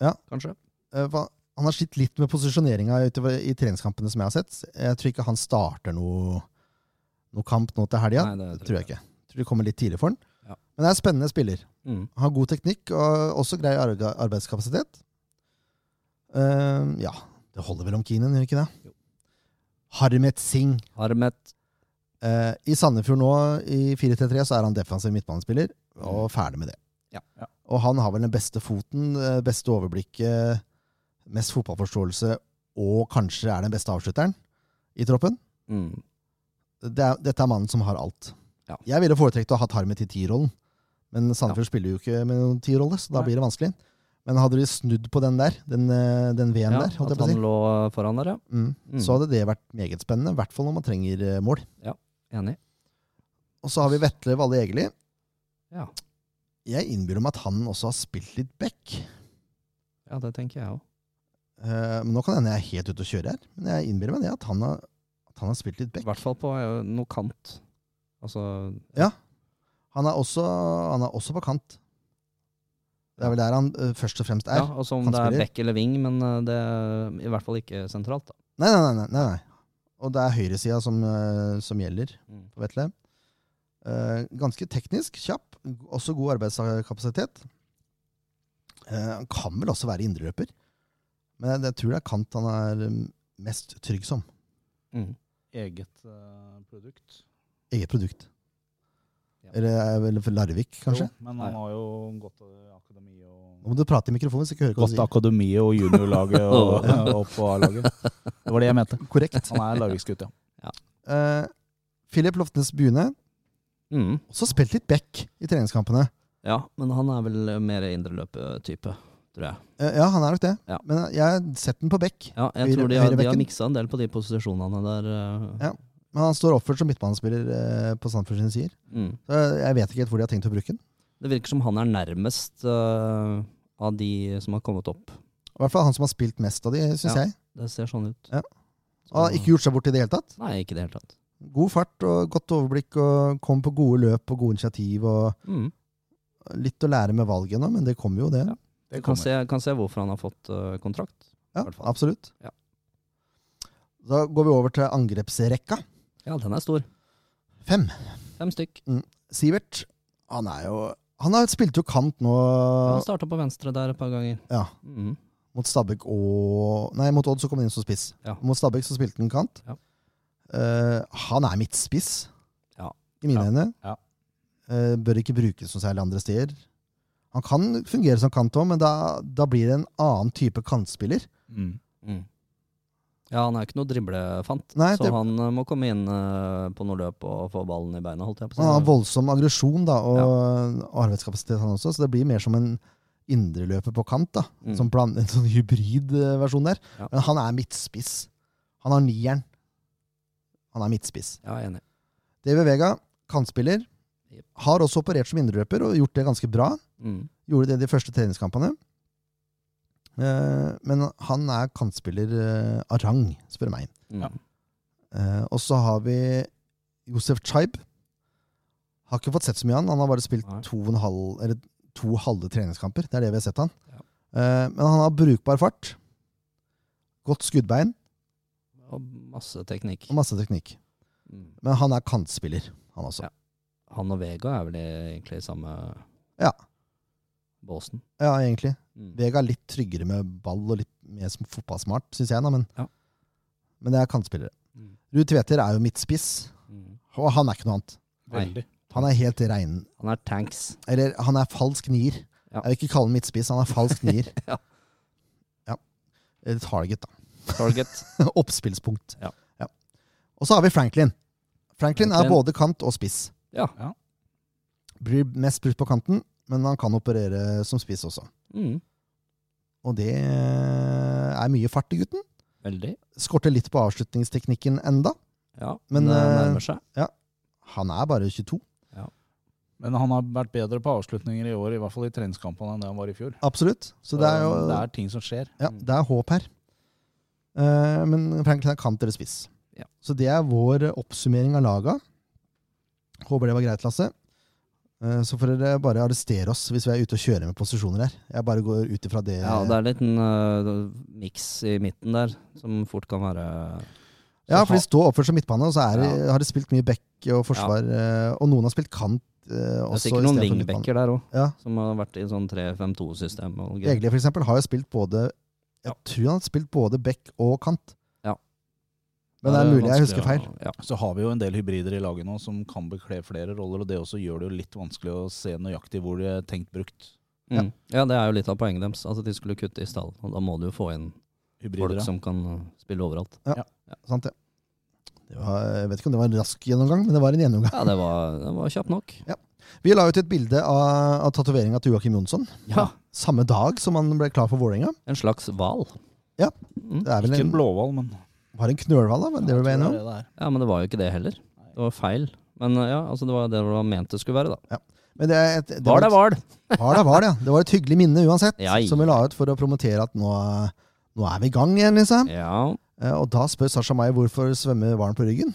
Ja.
Kanskje.
Eh, hva- han har slitt litt med posisjoneringa utover i treningskampene som jeg har sett. Jeg tror ikke han starter noe, noe kamp nå til helga.
Nei, det
Det tror jeg ikke. Jeg tror det kommer litt tidlig for han.
Ja.
Men det er en spennende spiller.
Mm.
Han har god teknikk og også grei arga- Eh, arbeidskapasitet. Ehm, ja, det holder vel om Keenan, gjør ikke det?
Jo.
Harmet Singh.
Harmet
Eh, I Sandefjord nå, i 4-3-3, så er han defensiv midtbanespiller, og ferdig med det.
Mm. Ja.
Ja.
Og han har vel den beste foten, eh, beste overblikket, mest fotballforståelse, og kanskje er den beste avslutteren i troppen.
mm.
Det er, dette er mannen som har alt.
Ja.
Jeg ville foretrekt å ha hatt Harmet i T-rollen, men Sandefjord spiller jo ikke med noen T-rolle, så da
Nei.
blir det vanskelig. Men hadde de snudd på den der, den, eh, den V-en
Ja,
der, holdt
at
jeg på å si,
han lå foran der, ja.
mm,
Mm.
så hadde det vært meget spennende, i hvert fall når man trenger eh, mål.
Enig.
Og så har vi Vetle Valle Egeli.
Ja.
Jeg innbyr meg at han også har spilt litt back.
ja, det tenker jeg òg.
Eh, men nå kan hende jeg er helt ute å kjøre her, men jeg innbyr meg det at han har, at han har spilt litt
I
back.
hvert fall på eh, noe kant. Altså
Han er også, han er også på kant. Det er vel der han eh, først og fremst
Ja,
er.
altså om
han
det er
spiller.
bekk eller ving, men eh, det er i hvert fall ikke sentralt, da.
Nei, nei, nei. nei, nei, nei. Og det er høyresida som, eh, som gjelder
Mm.
på Vetle. Eh, ganske teknisk, kjapp. Også god arbeidskapasitet. Eh, han kan vel også være indreløper, men jeg, jeg tror det er kant han er eh, mest trygg som.
Mm.
Eget eh, produkt.
Eget produkt.
Ja.
Eller, eller for Larvik, kanskje?
Jo, men han har jo gått av akademi
Nå
og
må du prate i mikrofonen, så jeg ikke hører hva du
Gått av akademi og juniorlaget og, og på A-laget. Det var det jeg mente.
sier. Korrekt.
Han er Larviksgutt, ja.
Eh, Philip Loftenes Bune,
Mm.
også spilt litt back i treningskampene.
Ja, men han er vel eh, mer indreløpertype, tror jeg.
Eh, ja, han er nok det,
Ja.
men jeg har sett den på back.
Ja, jeg
Høyre-
tror de har, de har
høyrebekken.
miksa en del på de posisjonene der. eh,
Ja. Men han står oppført som midtbanespiller eh, på Sandfjord sine sider.
Mm.
Så jeg vet ikke helt hvor de har tenkt å bruke den.
Det virker som han er nærmest eh, av de som har kommet opp.
I hvert fall han som har spilt mest av de, syns
Ja.
jeg.
Det ser sånn ut.
Ja.
Så-
Han har ikke gjort seg bort i det hele tatt.
Nei, ikke i det hele tatt.
God fart og godt overblikk og kom på gode løp og gode initiativ. og
Mm.
Litt å lære med valget nå, men det kommer jo, det.
Ja.
Det
kan,
kommer.
se, kan se hvorfor han har fått eh, kontrakt.
Ja,
hvert fall.
absolutt.
Ja.
Da går vi over til angrepsrekka.
Ja, den er stor.
Fem.
Fem stykk.
Sivert, han er jo Han har spilt jo kant nå
Han starta på venstre der et par ganger.
ja,
Mm.
mot Stabæk og Nei, mot Odd så kom han inn som spiss.
Ja.
Mot Stabæk så spilte han kant.
Ja.
Eh, han er midtspiss,
Ja.
i mine
Ja.
øyne.
Ja.
Eh, bør ikke brukes noe særlig andre steder. Han kan fungere som kant òg, men da, da blir det en annen type kantspiller.
Mm.
Mm. Ja, han er ikke noe driblefant,
Nei,
så
det-
han eh, må komme inn eh, på noe løp og få ballen i beina, holdt jeg på
Han har
å si.
voldsom aggresjon da, og og arbeidskapasitet, han også, så det blir mer som en indreløper på kant. da,
Mm.
som bland, En sånn hybridversjon der.
Ja.
Men han er midtspiss. Han har nieren. Han er midtspiss.
Ja, jeg er enig.
David Vega, kantspiller,
Jep.
har også operert som indreløper og gjort det ganske bra.
Mm.
Gjorde det de første treningskampene. Eh, Men han er kantspiller eh, av rang, spør du meg.
Mm.
Ja.
Eh, og så har vi Josef Chaib. Har ikke fått sett så mye av han. Han har bare spilt
Nei.
to, og en halv, eller to halve treningskamper. Det er det vi har sett han.
Ja.
Eh, men han har brukbar fart, godt skuddbein
Og masse teknikk.
og masse teknikk.
Mm.
Men han er kantspiller, han også.
Ja. Han og Vega er vel egentlig i samme
Ja.
båsen.
Ja, egentlig.
Mm.
Vega er litt tryggere med ball og litt mer som fotballsmart, syns jeg. Da, men,
Ja.
men det er kantspillere.
Mm.
Ruud Tveter er jo midtspiss,
Mm.
og han er ikke noe annet.
Veldig.
Han er helt rein
Han er tanks.
Eller han er falsk nier.
Ja.
Jeg vil ikke kalle han midtspiss, han er falsk nier.
Ja.
Ja. Eller Target, da.
Target.
Oppspillspunkt.
Ja.
Og så har vi Franklin. Franklin, er
Franklin.
både kant og spiss.
Ja.
Ja.
Blir mest brukt på kanten, men han kan operere som spiss også.
Mm.
Og det er mye fart i gutten.
Veldig.
Skorter litt på avslutningsteknikken enda.
Ja,
Men,
det
eh,
nærmer seg.
Han er bare 22.
Men han har vært bedre på avslutninger i år, i hvert fall i treningskampene, enn det han var i fjor.
Absolutt. Så det er jo
det er ting som skjer.
Ja, det er håp her. Eh, men Franklin er kant eller spiss.
Ja.
Så det er vår oppsummering av laga. Håper det var greit, Lasse. Eh, så får dere bare arrestere oss hvis vi er ute og kjører med posisjoner her. Jeg bare går ut ifra det.
Ja, det er en liten eh, miks i midten der, som fort kan være
Ja, for de står oppført som midtbane, og så er, det- har de spilt mye back og forsvar. eh, og noen har spilt kant eh,
Det er
også.
sikkert noen
i stedet for midtbane.
wingbacker der òg,
Ja.
som har vært i sånn 3-5-2-system. og greier.
Egeli, for eksempel, har jo spilt både Jeg
Ja.
tror han har spilt både back og kant.
Ja.
Men det er
Det er
mulig jeg
vanskelig,
husker feil.
Ja.
Så har vi jo en del hybrider i laget nå som kan bekle flere roller, og det også gjør det jo litt vanskelig å se nøyaktig hvor det er tenkt brukt
Mm. ja, det er jo litt av poenget deres. Altså, de skulle kutte i stallen, og da må du jo få inn
hybrider.
folk
ja.
som kan uh, spille overalt.
Sant, ja. Det var, jeg vet ikke om det var en rask gjennomgang, men det var en gjennomgang.
Ja, det var, det var kjapt nok.
Vi la ut et bilde av, av tatoveringa til Joakim Jonsson.
Ja,
Samme dag som han ble klar for Vålerenga.
En slags hval.
Ja.
Mm.
Det er vel
Ikke
en,
en blåhval, men
var en knølhval, da? men Det
jeg
var vi
tror
enige om.
det er det
Ja, men det var jo ikke det heller. Det var feil. Men uh, ja, altså, det var det det var ment det skulle være, da.
Men det, er et, det,
Var det
var,
hval?
et, var det, var det, ja. det var et hyggelig minne uansett,
Ja, ja.
som vi la ut for å promotere at nå, nå er vi i gang igjen, liksom.
Ja.
Eh, Og da spør Sasha meg hvorfor svømmer hvalen på ryggen.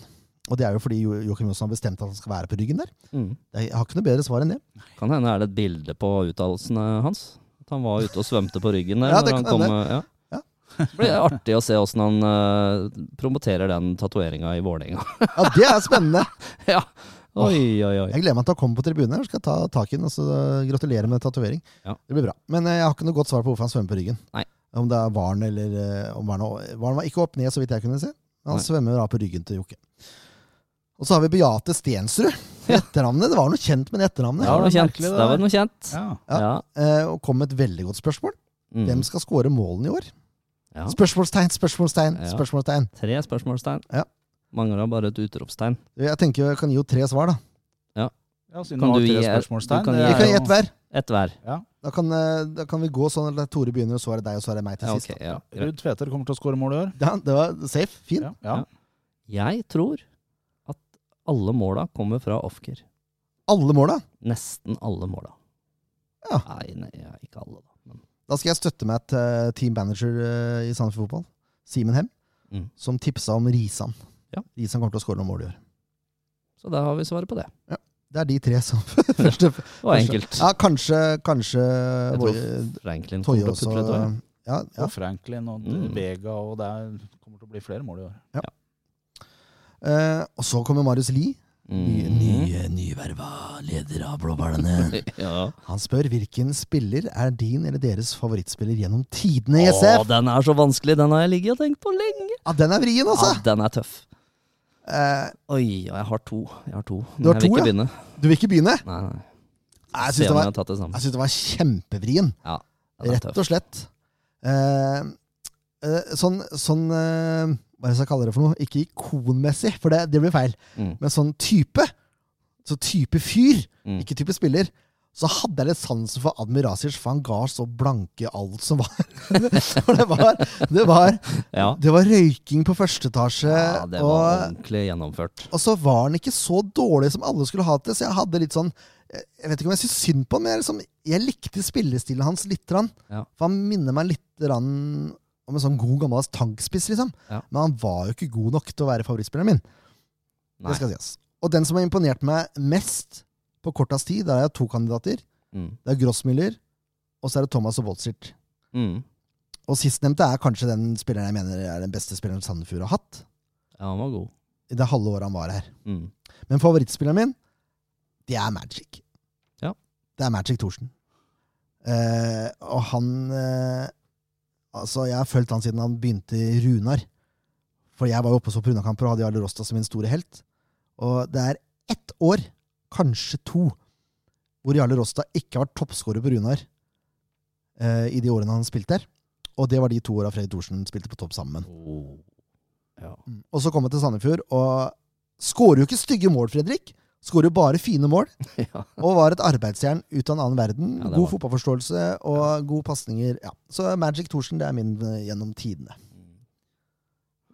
Og det er jo fordi Jo- Joakim Jonsson har bestemt at han skal være på ryggen der.
Mm.
Jeg har ikke noe bedre svar enn det.
Kan hende er det et bilde på uttalelsene hans. At han var ute og svømte på ryggen der.
Ja, det
når han
kan
kom, eh,
hende.
ja.
Ja.
Det blir artig å se åssen han eh, promoterer den tatoveringa i Vålerenga.
Ja, Det er spennende!
ja. Oi, oi, oi.
Jeg gleder meg til å komme på tribunen her, skal jeg ta tak i den og så gratulere med tatovering.
Ja.
Det blir bra. Men eh, jeg har ikke noe godt svar på hvorfor han svømmer på ryggen.
Nei.
Om det er hvalen eller eh, om hvalen var- Hvalen var ikke opp ned, så vidt jeg kunne se. Men han
Nei.
svømmer da på ryggen til Jokke. Og så har vi Beate Stensrud. Etternavnet, Det var noe kjent med det etternavnet.
Det var noe
det er
kjent.
merkelig, det
Det var
der.
noe kjent.
der. Ja.
Ja.
Ja.
Eh, Og kom med et veldig godt spørsmål. Hvem
Mm.
skal skåre målene i år?
ja.
Spørsmålstegn, spørsmålstegn,
Ja.
spørsmålstegn.
Tre spørsmålstegn.
Ja.
Mangler bare et utropstegn.
Jeg tenker jeg kan gi jo tre svar, da.
Ja, siden
Kan
det var
du
tre
gi-
spørsmålstegn,
du kan
det
gi-
Vi
er
kan
jo-
gi ett hver.
Ett hver.
Da kan, eh, da kan vi gå sånn at Tore begynner, og så er det deg, og så er det meg til
Ja,
sist.
ok, ja. greit.
Ruud Tveter kommer til å skåre mål i år.
Ja, det var safe. Fin.
Ja. Ja.
Ja. Jeg tror at alle måla kommer fra Ofker.
Alle måla.
Nesten alle måla.
Ja.
Nei, nei, ja, ikke alle, da. Men
Da skal jeg støtte meg til eh, team manager eh, i Sandefjord Fotball, Simen Hem,
Mm.
som tipsa om Risan.
Ja.
Risan kommer til å skåre noen mål i år.
Så da har vi svaret på det.
Det er de tre som første
Det var enkelt.
Ja, kanskje, kanskje
Jeg tror
våre-
Franklin
Toje
kommer til
også eh,
å putte ut også,
ja, ja.
Og Franklin og
Mm.
Vega, og det er, kommer til å bli flere mål i år.
Eh, og så kommer Marius Lie.
ja.
Nye,
Mm.
nye, nyverva leder av Blåbærene.
Ja.
Han spør hvilken spiller er din eller deres favorittspiller gjennom tidene i
Å,
SF.
den er så vanskelig! Den har jeg ligget og tenkt på lenge!
Ja, den er vrien,
Ja,
altså!
den er tøff.
Eh,
Oi, og jeg har to. Jeg har to. Men
Du har
jeg vil
to,
ikke
ja?
begynne.
du vil ikke begynne?
Nei, nei.
Nei,
Se
Jeg syns det,
om jeg
var-
har tatt det sammen.
jeg synes det var kjempevrien.
Ja, den er
Rett
tøff.
og slett. Eh, eh, sånn sånn eh, Hva er det jeg skal kalle det for noe? Ikke ikonmessig, for det, det blir feil.
Mm.
Men sånn type. Så type fyr,
Mm.
ikke type spiller. Så hadde jeg litt sansen for Admir Razic, for han ga så blanke alt som var. For det var, det var,
Ja.
det var røyking på første etasje,
ja, det var
og,
ordentlig gjennomført.
og så var han ikke så dårlig som alle skulle ha til, så jeg hadde litt sånn Jeg jeg vet ikke om jeg syntes synd på han, men jeg, liksom, jeg likte spillestilen hans litt. Rann.
Ja.
For han minner meg litt rann om en sånn god, gammeldags tankspiss, liksom.
Ja.
Men han var jo ikke god nok til å være favorittspilleren min.
Nei.
Det skal sies. Og den som har imponert meg mest på kortest tid, der er jeg to kandidater.
Mm.
Det er Grossmüller, og så er det Thomas og Boltzert.
Mm.
Og sistnevnte er kanskje den spilleren jeg mener er den beste spilleren Sandefjord har hatt.
Ja, han var god.
I det halve året han var her.
Mm.
Men favorittspilleren min, det er Magic.
Ja.
Det er Magic Thorsen. Eh, og han eh, Altså, jeg har fulgt han siden han begynte i Runar. For jeg var jo oppe og så på Runar-kamper og hadde Jarle Rosta som min store helt. Og det er ett år, kanskje to, hvor Jarle Rosta ikke har vært toppskårer på Runar eh, i de årene han spilte der. Og det var de to åra Fredrik Thorsen spilte på topp sammen.
Oh. Ja.
Mm. Og så kom jeg til Sandefjord og skårer jo ikke stygge mål, Fredrik. Skårer jo bare fine mål,
ja.
og var et arbeidsjern ut av en annen verden.
Ja, det
god
var-
fotballforståelse og gode pasninger. Ja. Så Magic Thorsen det er min eh, gjennom tidene.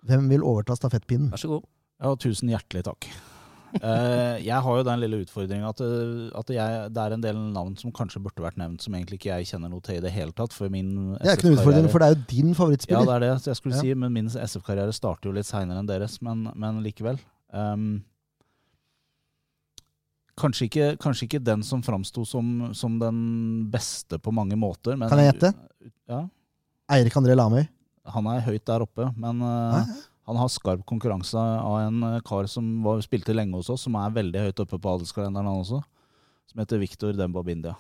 Hvem vil overta stafettpinnen?
Vær så god.
Ja, tusen hjertelig takk. Eh, jeg har jo den lille utfordringa at, eh, at jeg, det er en del navn som kanskje burde vært nevnt, som egentlig ikke jeg kjenner noe til i det hele tatt. For min
Det er ikke noe utfordring, for det er jo din
Ja,
favorittspiller.
det er det jeg skulle
Ja.
si, men min SF-karriere starter jo litt seinere enn deres, men, men likevel. Ehm, kanskje, ikke, kanskje ikke den som framsto som, som den beste på mange måter, men
Kan jeg gjette?
Ja,
Eirik André Lamøy.
han er høyt der oppe, men eh,
Hæ?
han har skarp konkurranse av en eh, kar som var, spilte lenge hos oss, som er veldig høyt oppe på adelskalenderen han også, som heter Victor Demba Bindia.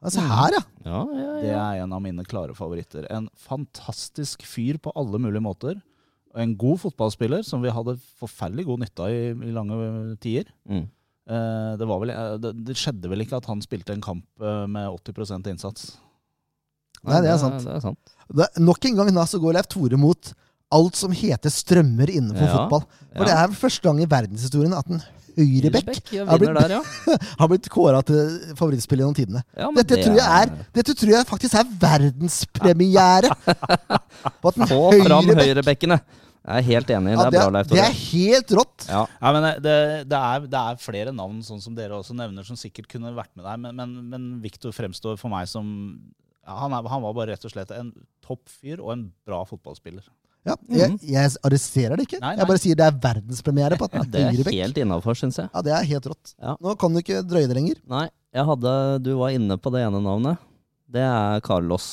Altså, her, ja!
Ja, ja,
Det
ja.
er en av mine klare favoritter. En fantastisk fyr på alle mulige måter. Og en god fotballspiller som vi hadde forferdelig god nytte av i, i lange tider.
Mm.
Eh, det, var vel, eh, det, det skjedde vel ikke at han spilte en kamp eh, med 80 innsats.
Nei, det er sant.
Det er sant.
Det, nok en gang da så går Leif Tore mot alt som heter strømmer innenfor
Ja,
fotball. For det er første gang i verdenshistorien at en høyrebekk
Hilsbæk, ja,
har
vinner der,
blitt-
ja.
har blitt kåra til favorittspiller gjennom tidene.
ja men
Dette
det
tror jeg er Dette tror jeg faktisk er verdenspremiere! På at en
Få fram
høyrebekk
høyrebekkene. Jeg er helt enig.
ja,
Det er
det,
bra,
er,
Leif
det
Tore.
er helt rått!
Ja.
Nei, men det, det, er, det er flere navn, sånn som dere også nevner, som sikkert kunne vært med der. Men, men, men Victor fremstår for meg som ja, han, er, han var bare rett og slett en toppfyr og en bra fotballspiller.
Ja, jeg,
Mhm.
jeg arresterer det ikke.
Nei, nei.
Jeg bare sier det er verdenspremiere på at en
Det er
høyrebekk
helt innafor, syns jeg.
Ja, det er helt rått.
Ja.
Nå kan du ikke drøye det lenger.
Nei, jeg hadde Du var inne på det ene navnet. Det er Carlos.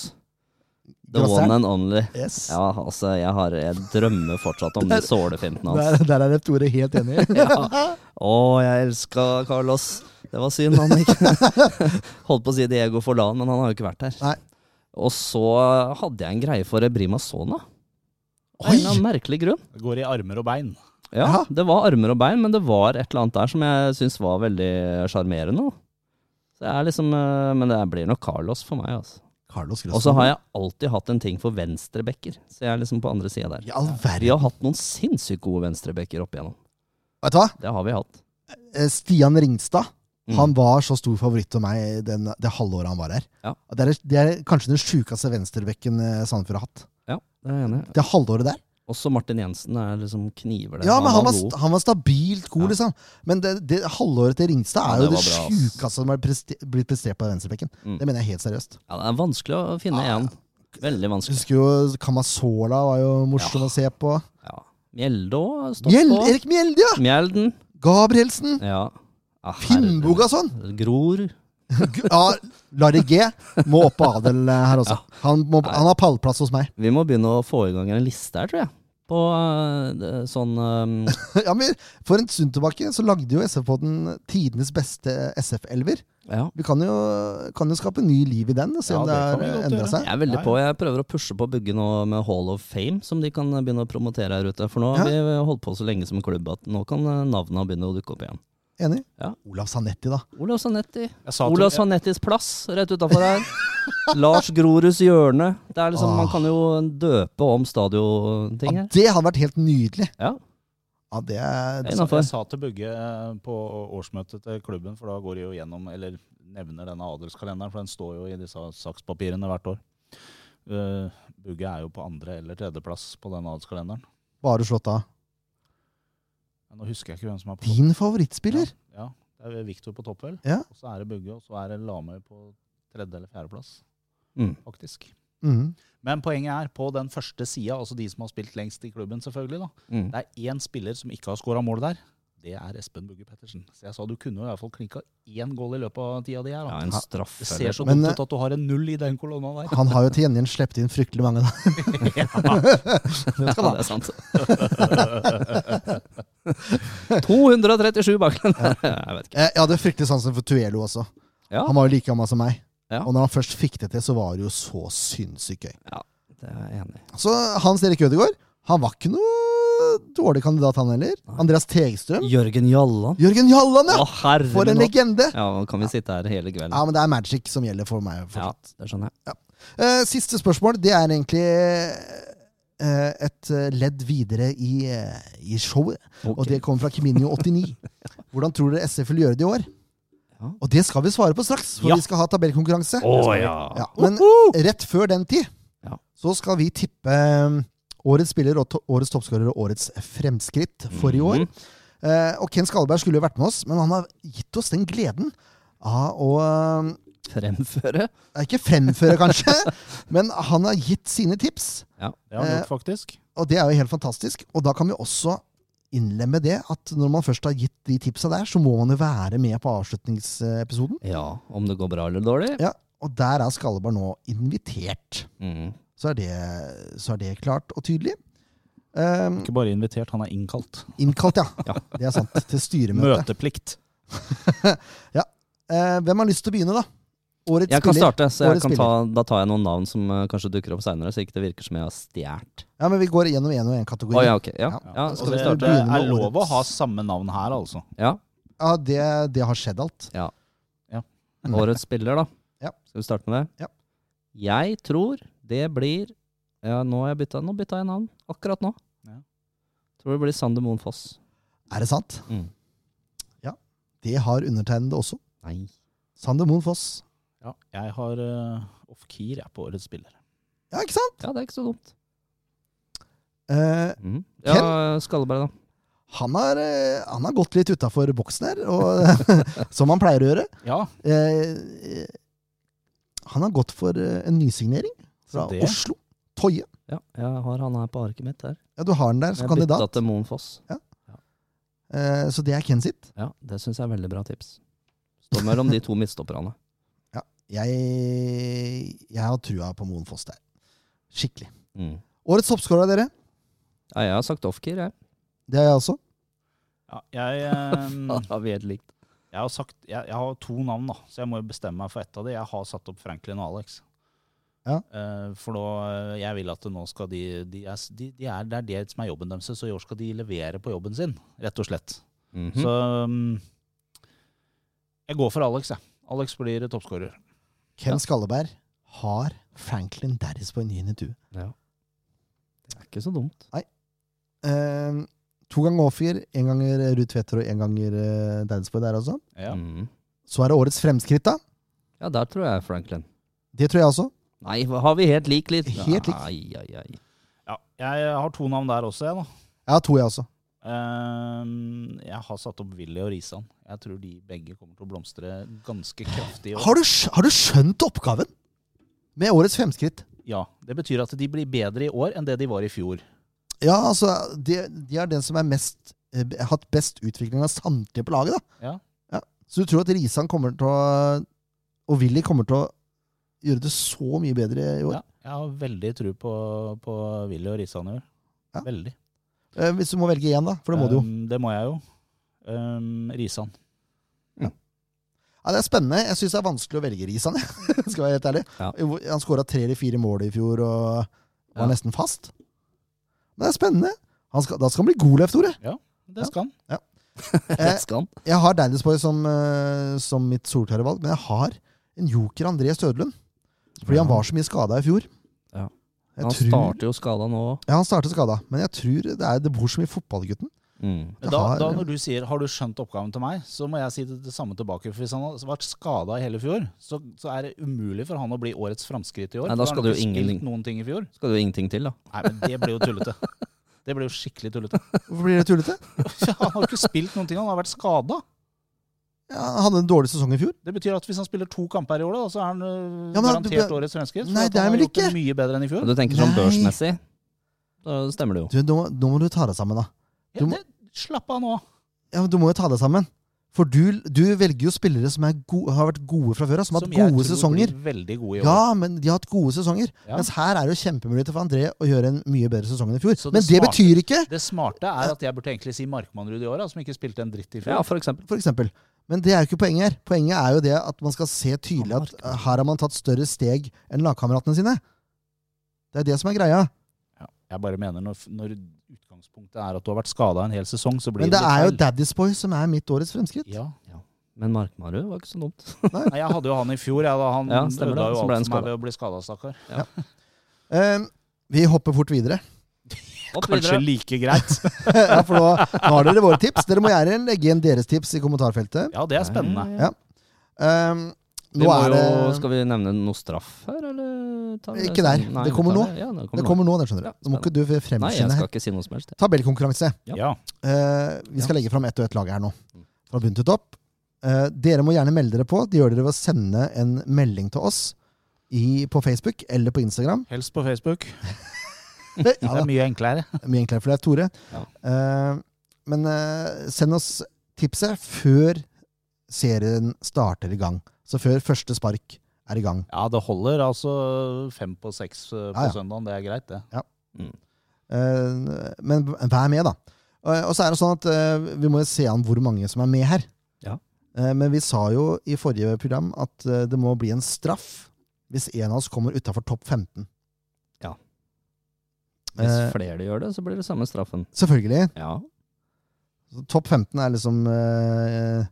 The
Grasseren.
one and only.
Yes.
Ja, altså, jeg, har, jeg drømmer fortsatt om de sålefintene hans.
Der, der er Leif Tore helt enig.
Ja. Å, jeg elska Carlos. Det var synd han ikke Holdt på å si Diego Forlan, men han har jo ikke vært her.
Nei.
Og så hadde jeg en greie for Ebrima Sona. Av
Oi!
en eller annen merkelig grunn.
Det går i armer og bein.
Ja,
Jaha.
Det var armer og bein, men det var et eller annet der som jeg syns var veldig sjarmerende. da. Så jeg er liksom, eh, Men det blir nok Carlos for meg. altså.
Carlos
Og så har jeg alltid hatt en ting for venstrebacker. Så jeg er liksom på andre sida der.
I all
Vi
verden.
har hatt noen sinnssykt gode venstrebacker opp igjennom.
Vet du hva?
Det har vi hatt.
Eh, Stian Ringstad
Mm.
han var så stor favoritt av meg den, det halvåret han var her.
Ja.
At Det, er, det er kanskje den sjukeste venstrebekken eh, Sandefjord har hatt.
Ja, det er jeg enig i.
Det halvåret der.
Også Martin Jensen er liksom kniver der.
Ja, men han var,
god.
st- han var stabilt god,
Ja.
liksom. Men det, det halvåret til Ringstad
Ja,
er
det
jo det,
var bra, ass.
sjukeste som har preste- blitt prestert på venstrebekken.
Mm.
Det mener jeg helt seriøst.
Ja, det er vanskelig å finne
Ja,
én. Veldig
Jeg
vanskelig.
husker jo Kamasola var jo morsom å se på.
Ja. Mjelde òg har stått
Mjeld,
på.
Erik Mjelde, ja!
Mjelden.
Gabrielsen!
Ja. ja
Finnbogason!
herregud. Gror.
Ja, Larry G må opp på adel eh, her også. Han, må, han har pallplass hos meg.
Vi må begynne å få i gang en liste her, tror jeg. På eh, det- sånn eh,
Ja, men For en stund tilbake så lagde jo SF-podden tidenes beste SF-elver.
Ja.
Vi kan jo, kan jo skape ny liv i den og se
Ja,
om
det
det
kan vi
har
godt
endra
gjøre.
seg.
Jeg er veldig
Ja, ja.
på. Jeg prøver å pushe på å bygge noe med Hall of Fame, som de kan begynne å promotere her ute. For nå har vi holdt på så lenge som klubb at nå kan eh, navnene begynne å dukke opp igjen.
Enig?
Ja.
Olav Sanetti, da.
Olav Sanetti.
Jeg sa
Olav
til,
Sanettis plass rett utafor her. Lars Groruds hjørne. Det er liksom, Man
Åh.
kan jo døpe om stadioting
Ja,
her.
det hadde vært helt nydelig.
Ja,
Ja, det
det
er,
er
jeg, jeg
innafor.
sa til Bugge eh, på årsmøtet til klubben, for da går de jo gjennom, eller nevner denne adelskalenderen, for den står jo i disse sakspapirene hvert år. Eh, Bugge er jo på andre- eller tredjeplass på den adelskalenderen.
bare slått av.
Nå husker jeg ikke hvem som er på
Din favorittspiller?
Ja, ja. det er Victor på topp, vel.
Ja.
Og så er det Bugge, og så er det Lamøy på tredje- eller fjerdeplass,
Mm.
faktisk.
Mhm.
Men poenget er, på den første sida, altså de som har spilt lengst i klubben, selvfølgelig, da,
Mm.
det er én spiller som ikke har scora mål der. Det er Espen Bugge Pettersen. Så jeg sa du kunne jo i hvert fall klinka én goal i løpet av tida di her.
Ja,
Da.
en straff.
Det ser så
Men, eh,
dumt ut at du har en null i den kolonna der.
Han har jo til gjengjeld sluppet inn fryktelig mange, da.
Ja, det er sant. 237 bak den der. Jeg vet ikke.
Eh, Jeg jeg hadde fryktelig sansen for Tuelo også.
Ja,
Han var jo like gammel som meg.
Ja.
Og når han først fikk det til, så var det jo så sinnssykt gøy.
det er jeg enig i.
Så Hans Erik Ødegaard, han var ikke noe dårlig kandidat, han heller. Andreas Tegstrøm.
Jørgen Jalland.
Jørgen Jalland,
Å,
ja!
herre
For en
nå.
legende!
Ja, nå kan vi sitte her hele
Ja,
kvelden.
men det er magic som gjelder for meg.
Ja,
fortsatt.
det skjønner jeg.
Eh, siste spørsmål, det er egentlig eh, et eh, ledd videre i, eh, i showet.
Ok.
Og det kommer fra Kiminio89. Hvordan tror dere SF vil gjøre det i år?
Ja.
Og det skal vi svare på straks, for
Ja.
vi skal ha tabellkonkurranse.
Å ja.
Ja, men rett før den tid
Ja.
så skal vi tippe eh, årets spiller, og to årets toppskårer og årets fremskritt for i år.
Mhm.
Eh, og Ken Skalberg skulle jo vært med oss, men han har gitt oss den gleden av å eh,
Fremføre.
ja, Ikke fremføre, kanskje, men han har gitt sine tips.
Det har
Eh,
han gjort, faktisk.
Og det er jo helt fantastisk. Og da kan vi også innlemme det at når man først har gitt de tipsa der, så må man jo være med på avslutningsepisoden.
Ja, om det går bra eller dårlig.
Ja, og der er Skalleberg nå invitert.
Mm.
Så er det, så er det klart og tydelig. Ehm,
Ikke bare invitert, han er innkalt.
innkalt, ja.
Ja.
Det er sant. Til styremøte.
Møteplikt.
Eh, hvem har lyst til å begynne, da? Årets
Jeg kan
spiller.
starte, så jeg
Årets
kan ta, da tar jeg noen navn som eh, kanskje dukker opp seinere, så ikke det virker som jeg har stjålet.
Ja, men vi går gjennom én og én
Å
kategori.
ja, ok. Ja,
Ja.
ja,
Og
skal
det
vi
er
starte?
det
begynne med
er lov å
årets-
ha samme navn her, altså.
Ja.
Ja, det, det har skjedd alt. Mm.
Årets spiller, da.
Ja.
Skal vi starte med det?
Ja.
Jeg tror det blir ja, Nå har jeg bytta, nå bytta jeg navn. Akkurat nå.
Ja.
Tror det blir Sander Moen Foss.
Er det sant?
Mm.
Det har undertegnede også.
Nei.
Sander Moen Foss.
Ja, jeg har eh, off-keer jeg, på årets spiller.
Ja, ikke sant?
Ja, det er ikke så dumt.
Eh,
Mhm.
Ken?
Ja, Skalleberg, da.
han, har, eh, han har gått litt utafor boksen her, og, som han pleier å gjøre.
Ja,
Eh, eh, han har gått for eh, en nysignering fra
Så det-
Oslo. Toje.
Ja, jeg har han her på arket mitt. her.
Ja, du har den der som
Jeg bytta
kandidat.
til Moen Foss.
Eh, så det er Ken sitt.
Ja, det syns jeg er veldig bra tips. Står mellom de to midtstopperne.
Jeg, jeg har trua på Moen Foss der. Skikkelig.
Mm.
Årets toppskårer, dere.
Ja, jeg har sagt off-keer, jeg.
Det har jeg også.
ja jeg, eh,
Ja, vi er helt likt.
jeg, har sagt, jeg, jeg har to navn, da, så jeg må jo bestemme meg for ett av de. Jeg har satt opp Franklin og Alex.
Ja.
Eh, for nå, eh, jeg vil at nå skal de, de, er, s- de, de er, Det er det som er jobben deres, så i år skal de levere på jobben sin, rett og slett.
Mhm.
Så mm, jeg går for Alex, jeg. Alex blir toppskårer.
Ken
Ja.
Skalleberg har Franklin Darris på en 9.20.
Ja. Det er ikke så dumt.
Eh, to ganger Åfjell, én ganger Ruud Tvedter og én ganger eh, Deidsborg der også.
Ja.
Mhm.
Så er det årets fremskritt, da.
Ja, der tror jeg Franklin.
Det tror jeg også.
Nei, hva har vi helt lik litt?
Helt lik.
Ai, ai, ai.
Ja, jeg har to navn der også, jeg, da.
Jeg har to, jeg også.
Ehm, jeg har satt opp Willy og Risan. Jeg tror de begge kommer til å blomstre ganske kraftig. i år.
Har du, skj- har du skjønt oppgaven? Med årets fremskritt.
Ja, Det betyr at de blir bedre i år enn det de var i fjor.
Ja, altså, de, de er den som er mest, eh, b- hatt best utvikling av samtlige på laget, da.
Ja.
Så du tror at Risan kommer til å Og Willy kommer til å gjøre det så mye bedre i år?
Ja, jeg har veldig tro på, på Willy og Risan i år.
Ja.
Veldig.
Eh, hvis du må velge igjen, da. For det må du jo.
Ehm, det må jeg jo. Ehm, Risan.
Ja, det er spennende. Jeg syns det er vanskelig å velge Risan, jeg. Skal jeg være helt ærlig.
Ja.
Hvor- Han skåra tre eller fire mål i fjor og
Ja.
var nesten fast. Men det er spennende. Han skal, da skal han bli god, Leif Tore.
Det skal han.
Eh,
Skal han?
Jeg har Deiligspor som, eh, som mitt solklare valg, men jeg har en joker André Stødlund. Fordi han var så mye skada i fjor.
Ja.
Jeg
Han
tror-
starter jo skada nå òg.
ja, han startet skada, men jeg tror det, er, det bor så mye i fotballgutten.
Mm.
Det
Da,
har-
da når du sier 'har du skjønt oppgaven til meg', så må jeg si det, det samme tilbake. For Hvis han har vært skada i hele fjor, så, så er det umulig for han å bli årets framskritt i år.
Nei, da
for han
skal
har
det
ikke
jo ingen-
spilt noen ting i fjor.
Skal det jo ingenting til, da.
Nei, men det blir jo tullete. Det blir jo skikkelig tullete.
Hvorfor blir det tullete?
Han har jo ikke spilt noen ting, han har vært skada.
Ja, han hadde en dårlig sesong i fjor.
Det betyr at hvis han spiller to kamper i år, da, så er han øh,
Ja, men han-
garantert årets svenske.
Nei, det er
han
vel
gjort det
ikke.
mye bedre enn i fjor.
Du tenker sånn
Nei.
børsmessig? Da stemmer det jo.
Du, nå, må- nå må du ta deg sammen, da.
Ja,
Du må-
det, slapp av nå.
Ja, men du må jo ta deg sammen. For du, du velger jo spillere som er go- har vært gode fra før av, som har hatt gode sesonger.
blir veldig gode i år.
Ja, men de har hatt gode sesonger.
Ja.
Mens her er det jo kjempemuligheter for André å gjøre en mye bedre sesong enn i fjor.
Så det
men det
smarte-
betyr ikke
Det smarte er at jeg burde egentlig si Markmannrud i år, da, som ikke spilte en dritt i
Ja,
fjor.
for eksempel.
for eksempel. Men det er jo ikke poenget her. Poenget er jo det at man skal se tydelig at eh, her har man tatt større steg enn lagkameratene sine. Det er det som er greia.
Jeg bare mener når, når utgangspunktet er at du har vært skada en hel sesong, så blir
Men det
litt
er jo
feil.
Daddy's Boy som er mitt årets fremskritt.
ja.
Men Markmarud var ikke så dumt.
Nei, Jeg hadde jo han i fjor, jeg, da. Han
Ja, stemmer
ødela
det.
jo
Så ble han
alt for meg
skadet.
ved å bli skada, stakkar.
Eh, vi hopper fort videre.
Opp
Kanskje
videre.
like greit.
ja, for nå, nå har dere våre tips. Dere må gjerne legge inn deres tips i kommentarfeltet.
Ja, det er spennende.
Ja, ja, ja.
Ja. Ehm,
Vi
nå
må
er
jo,
det
skal vi nevne noe straff her, eller? tar vi
Ikke der.
sånn? Nei,
Det kommer
vi tar
nå.
det. Ja, det
Det
kommer nå.
kommer nå, det skjønner
Ja,
du. Nå må ikke du
Nei, jeg
fremskynde
skal
her.
ikke si noe som helst. jeg.
Tabellkonkurranse.
Ja.
Ja.
Eh, vi
Ja.
skal
Mm.
legge fram ett og ett lag her nå. Fra bunn til topp. Eh, dere må gjerne melde dere på. Det gjør dere ved å sende en melding til oss i, på Facebook eller på Instagram.
Helst på Facebook.
Det,
Det
ja,
er mye enklere.
det er mye enklere for deg, Tore.
Ja.
Eh, men eh, send oss tipset før serien starter i gang. Så før første spark er i gang.
Ja, det holder altså fem på seks eh, på
Ja, ja.
søndagen. Det er greit, det.
Eh, men vær med, da. Eh, og så er det sånn at eh, vi må jo se an hvor mange som er med her.
Ja.
Eh, Men vi sa jo i forrige program at eh, det må bli en straff hvis en av oss kommer utafor topp 15.
Ja.
Eh,
Hvis flere gjør det, så blir det samme straffen.
selvfølgelig.
Ja.
Så Topp 15 er liksom eh,